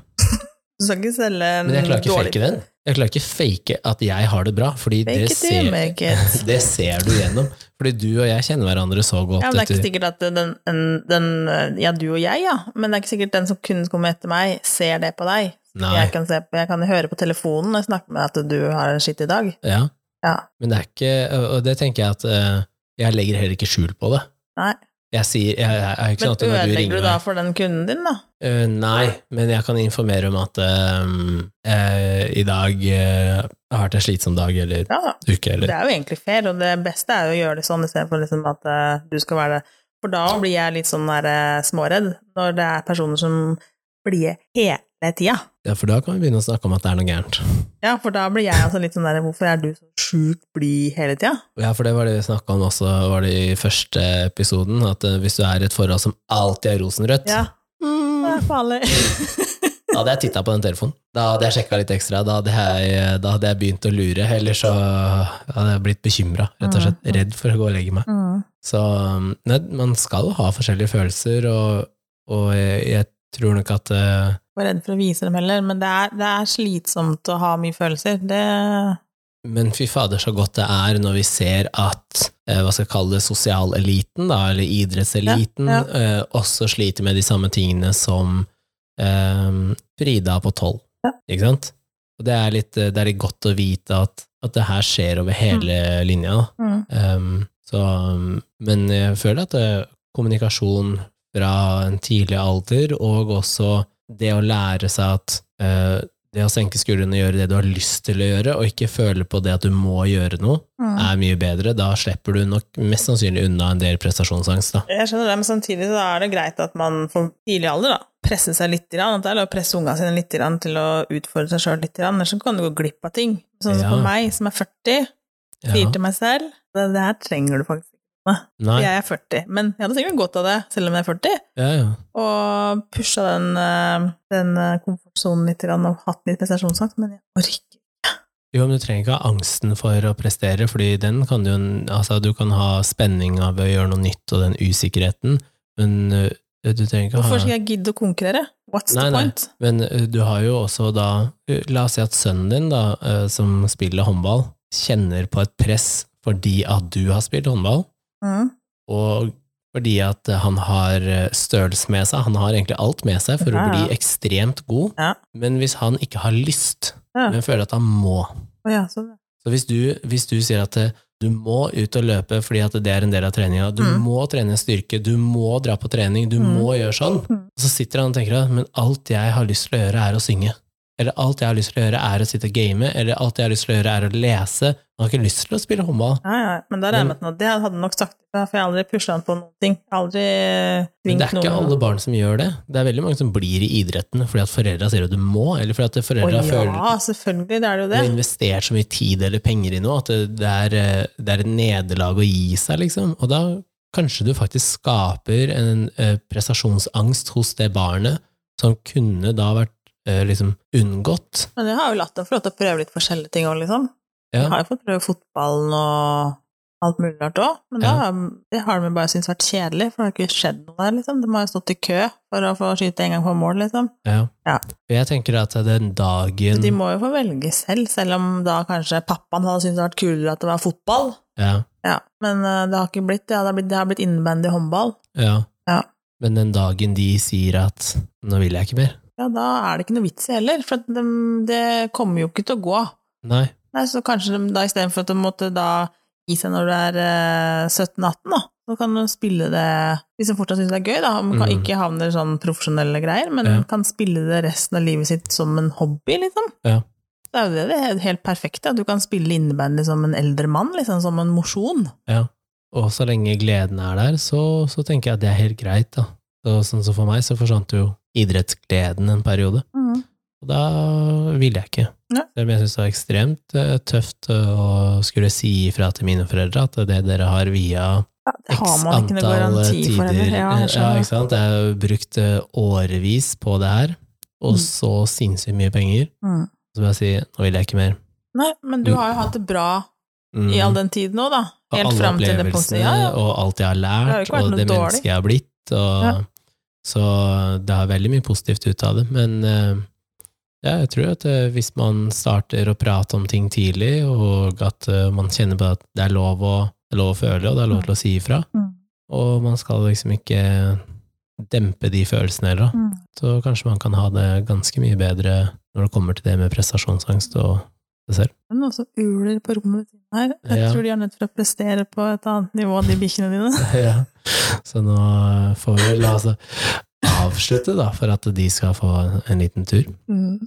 Speaker 2: Du skal ikke selge en
Speaker 1: men jeg klarer ikke å
Speaker 2: dårlig
Speaker 1: fake den. Jeg klarer ikke fake at jeg har det bra, fordi
Speaker 2: Fake
Speaker 1: det
Speaker 2: it till you
Speaker 1: ser,
Speaker 2: make it.
Speaker 1: det ser du gjennom. Fordi du og jeg kjenner hverandre så godt.
Speaker 2: Ja, men det er
Speaker 1: etter-
Speaker 2: ikke sikkert at den, den, den Ja, du og jeg, ja, men det er ikke sikkert den som kunne komme etter meg, ser det på deg.
Speaker 1: Nei,
Speaker 2: Jeg kan, se på, jeg kan høre på telefonen når jeg snakker med deg at du har en skitt i dag.
Speaker 1: ja.
Speaker 2: Ja.
Speaker 1: Men det er ikke Og og det tenker jeg at eh, jeg legger heller ikke skjul på det.
Speaker 2: Nei.
Speaker 1: Jeg sier jeg, jeg, jeg, er ikke
Speaker 2: Men
Speaker 1: sant at når du
Speaker 2: ødelegger
Speaker 1: ringer
Speaker 2: du da
Speaker 1: meg
Speaker 2: for den kunden din, da?
Speaker 1: Eh, Nei, men jeg kan informere om at eh, eh, i dag eh, har vært en slitsom dag eller
Speaker 2: Ja da.
Speaker 1: uke
Speaker 2: Det
Speaker 1: eller
Speaker 2: er jo egentlig fair, og det beste er jo å gjøre det sånn istedenfor liksom at eh, du skal være det. For da blir jeg litt sånn der, eh, småredd, når det er personer som blir hele tida.
Speaker 1: ja, For da kan vi begynne å snakke om at det er noe gærent.
Speaker 2: Ja, for da blir jeg altså litt sånn der Hvorfor er du så sjukt blid hele tida?
Speaker 1: Ja, for det var det vi snakka om også var det i første episoden, at eh, hvis du er i et forhold som alltid er rosenrødt
Speaker 2: Ja, det
Speaker 1: mm,
Speaker 2: er farlig.
Speaker 1: Da hadde jeg titta på den telefonen. Da hadde jeg sjekka litt ekstra. Da hadde, jeg, da hadde jeg begynt å lure, eller så hadde jeg blitt bekymra, rett og slett.
Speaker 2: Mm.
Speaker 1: Redd for å gå og legge meg.
Speaker 2: Mm.
Speaker 1: Så um, nei, man skal ha forskjellige følelser, og, og jeg, jeg tror nok at eh,
Speaker 2: Jeg var redd for å vise dem heller, men det er, det er slitsomt å ha mye følelser. Det
Speaker 1: Men fy fader, så godt det er når vi ser at eh, hva skal jeg kalle det, sosialeliten, da, eller idrettseliten,
Speaker 2: Ja,
Speaker 1: eh, også sliter med de samme tingene som eh, Frida på tolv.
Speaker 2: Ja.
Speaker 1: Ikke sant? Og det er, litt, eh, det er litt godt å vite at, at det her skjer over hele linja. Da.
Speaker 2: mm.
Speaker 1: Um, så, um, men jeg føler at eh, kommunikasjon fra en tidlig alder, og også det å lære seg at eh, det å senke skuldrene og gjøre det du har lyst til å gjøre, og ikke føle på det at du må gjøre noe,
Speaker 2: Mm.
Speaker 1: er mye bedre. Da slipper du nok mest sannsynlig unna en del prestasjonsangst. Da.
Speaker 2: Jeg skjønner det, men samtidig så er det greit at man for tidlig alder da, presser seg litt, grann, at det er lov å presse unga sine litt grann, til å utfordre seg sjøl litt, grann, ellers så kan du gå glipp av ting. Sånn som
Speaker 1: Ja.
Speaker 2: for meg, som er 40, sier
Speaker 1: Ja.
Speaker 2: til meg selv det, det her trenger du faktisk.
Speaker 1: Nei,
Speaker 2: Jeg er 40, men jeg hadde sikkert godt av det, selv om jeg er 40,
Speaker 1: ja, ja.
Speaker 2: og pusha den, eh, den eh, komfortsonen litt grann, og hatt litt prestasjonsangst, men jeg orker
Speaker 1: Jo, men du trenger ikke ha angsten for å prestere, fordi den kan du, altså, du kan ha spenning av å gjøre noe nytt, og den usikkerheten, men eh, du trenger ikke ha
Speaker 2: Hvorfor skal jeg gidde å konkurrere? What's
Speaker 1: Nei,
Speaker 2: the
Speaker 1: nei.
Speaker 2: point?
Speaker 1: Men ø, du har jo også da ø, La oss si at sønnen din, da, ø, som spiller håndball, kjenner på et press fordi at du har spilt håndball,
Speaker 2: Mm.
Speaker 1: og fordi at ø, han har ø, størrelse med seg. Han har egentlig alt med seg for
Speaker 2: Ja,
Speaker 1: å
Speaker 2: ja.
Speaker 1: bli ekstremt god,
Speaker 2: Ja.
Speaker 1: men hvis han ikke har lyst,
Speaker 2: Ja.
Speaker 1: men føler at han må
Speaker 2: Å ja, så,
Speaker 1: Så hvis du, hvis du sier at ø, du må ut og løpe fordi at det er en del av treninga, du
Speaker 2: Mm.
Speaker 1: må trene styrke, du må dra på trening, du
Speaker 2: Mm.
Speaker 1: må gjøre sånn,
Speaker 2: Mm.
Speaker 1: og så sitter han og tenker at men alt jeg har lyst til å gjøre er å synge. Eller alt jeg har lyst til å gjøre er å sitte og game, eller alt jeg har lyst til å gjøre er å lese. Han har ikke lyst til å spille håndball.
Speaker 2: Ja, ja, men da regner jeg med at det hadde nok sagt ifra, for jeg har aldri pusha han på noen ting. Aldri
Speaker 1: Men det
Speaker 2: tvingt
Speaker 1: er ikke
Speaker 2: noen.
Speaker 1: alle barn som gjør det. Det er veldig mange som blir i idretten fordi at foreldra sier at du må, eller fordi at
Speaker 2: Å
Speaker 1: foreldra føler
Speaker 2: ja, selvfølgelig, det er det jo
Speaker 1: du
Speaker 2: det.
Speaker 1: har investert så mye tid eller penger i noe at det- det er, eh, det er et nederlag å gi seg, liksom. Og da kanskje du faktisk skaper en eh, prestasjonsangst hos det barnet som kunne da vært eh, liksom unngått.
Speaker 2: Men jeg har jo latt dem få lov til å prøve litt forskjellige ting òg, liksom.
Speaker 1: Ja.
Speaker 2: Jeg har jo fått prøve fotballen og alt mulig rart òg. Men da det har de jo bare syntes vært kjedelig, for det har ikke skjedd noe der, liksom. De har jo stått i kø for å få skyte en gang på mål, liksom.
Speaker 1: Ja.
Speaker 2: Ja.
Speaker 1: For Jeg tenker at den
Speaker 2: Så
Speaker 1: dagen
Speaker 2: de må jo få velge selv, selv om da kanskje pappaen hadde syntes det hadde vært kulere at det var fotball.
Speaker 1: ja,
Speaker 2: Ja, men eh, det har ikke blitt det. Det har blitt, det har blitt innebandy håndball.
Speaker 1: ja.
Speaker 2: Ja.
Speaker 1: Men den dagen de sier at 'nå vil jeg ikke mer'
Speaker 2: Ja, da er det ikke noe vits i heller, for at dem- det kommer jo ikke til å gå.
Speaker 1: Nei.
Speaker 2: Nei, så kanskgi de da istedenfor at de måtte da gi seg når du er eh, 17-18, da, så kan du spille det hvis de fortsatt syns det er gøy, da. De kan
Speaker 1: Mm.
Speaker 2: ikke havne i sånn profesjonelle greier, men
Speaker 1: Ja.
Speaker 2: kan spille det resten av livet sitt som en hobby, liksom.
Speaker 1: Ja.
Speaker 2: Det er jo det, det er helt perfekte, at du kan spille innebandy som en eldre mann, liksom, som en mosjon.
Speaker 1: Og så lenge gleden er der, så, så tenker jeg at det er helt greit, da. Så, sånn som for meg, så forsvant jo idrettsgleden en periode.
Speaker 2: Mm.
Speaker 1: Og da ville jeg ikke.
Speaker 2: Nei.
Speaker 1: Selv om jeg syntes det var ekstremt eh, tøft eh, å skulle si ifra til mine foreldre at det dere har via
Speaker 2: Ja, det har
Speaker 1: X
Speaker 2: man ikke noe
Speaker 1: antall eh,
Speaker 2: garanti
Speaker 1: tider.
Speaker 2: for heller. Ja, jeg
Speaker 1: ja,
Speaker 2: skjønner.
Speaker 1: ikke sant? Jeg har jo brukt eh, årevis på det her, og
Speaker 2: Mm.
Speaker 1: så sinnssykt mye penger.
Speaker 2: Mm.
Speaker 1: Så vil jeg si, nå vil jeg ikke mer.
Speaker 2: Nei, men du har jo hatt det bra
Speaker 1: Mm.
Speaker 2: i all den tiden nå, da.
Speaker 1: Og
Speaker 2: Helt
Speaker 1: alle
Speaker 2: fram til det punktet.
Speaker 1: opplevelsene,
Speaker 2: Ja, ja.
Speaker 1: og alt jeg har
Speaker 2: Det har jo
Speaker 1: lært,
Speaker 2: ikke vært
Speaker 1: og
Speaker 2: noe
Speaker 1: det
Speaker 2: dårlig.
Speaker 1: mennesket jeg har blitt. Og,
Speaker 2: Ja.
Speaker 1: Så det er veldig mye positivt ut av det. Men eh, ja, jeg tror at eh, hvis man starter å prate om ting tidlig, og at eh, man kjenner på at det er lov å, det er lov å føle, og det er lov til å si ifra,
Speaker 2: Mm.
Speaker 1: og man skal liksom ikke dempe de følelsene heller, da.
Speaker 2: Mm.
Speaker 1: så kanskje man kan ha det ganske mye bedre når det kommer til det med prestasjonsangst og det selv.
Speaker 2: Det er noen som uler på rommet ditt her. Jeg
Speaker 1: Ja.
Speaker 2: tror de er nødt til å prestere på et annet nivå enn de bikkjene dine.
Speaker 1: Ja. Så nå eh, får vi la oss avslutte, da, for at de skal få en liten tur.
Speaker 2: Mm.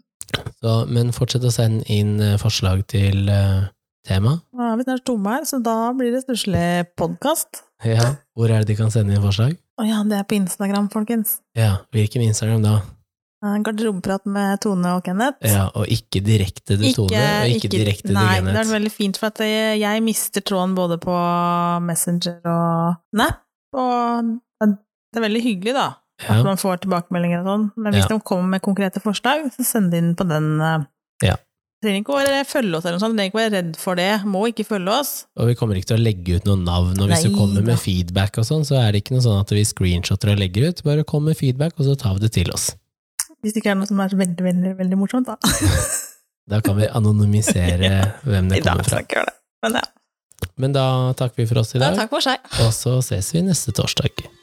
Speaker 1: Så, men fortsett å sende inn eh, forslag til eh, tema.
Speaker 2: Nå er vi snart tomme her, så da blir det stusslig podkast.
Speaker 1: Ja. Hvor er det de kan sende inn forslag?
Speaker 2: Å ja, det er på Instagram, folkens.
Speaker 1: Ja, Hvilken Instagram da?
Speaker 2: Eh, Garderobeprat med Tone og Kenneth.
Speaker 1: Ja, Og ikke direkte til Tone, og ikke, direkte til
Speaker 2: Nei, det er
Speaker 1: Kenneth.
Speaker 2: veldig fint, for at jeg, jeg mister tråden både på Messenger og Snap, og det er veldig hyggelig, da.
Speaker 1: Ja.
Speaker 2: At man får tilbakemeldinger og sånn. Men hvis
Speaker 1: Ja.
Speaker 2: de kommer med konkrete forslag, så send det inn på den. eh.
Speaker 1: Ja.
Speaker 2: Trenger ikke å være følge oss eller noe sånt, trenger ikke å være redd for det. Må ikke følge oss.
Speaker 1: Og vi kommer ikke til å legge ut noen navn, og hvis du
Speaker 2: Nei
Speaker 1: kommer
Speaker 2: da.
Speaker 1: med feedback og sånn, så er det ikke noe sånn at vi screenshotter og legger ut. Bare kom med feedback, og så tar vi det til oss.
Speaker 2: Hvis det ikke er noe som er veldig, veldig, veldig morsomt, da.
Speaker 1: Da kan vi anonymisere hvem det
Speaker 2: I dag
Speaker 1: kommer fra.
Speaker 2: skal jeg ikke gjøre det. Men ja.
Speaker 1: Men da takker vi for oss i
Speaker 2: ja
Speaker 1: dag.
Speaker 2: takk for seg.
Speaker 1: Og så ses vi neste torsdag.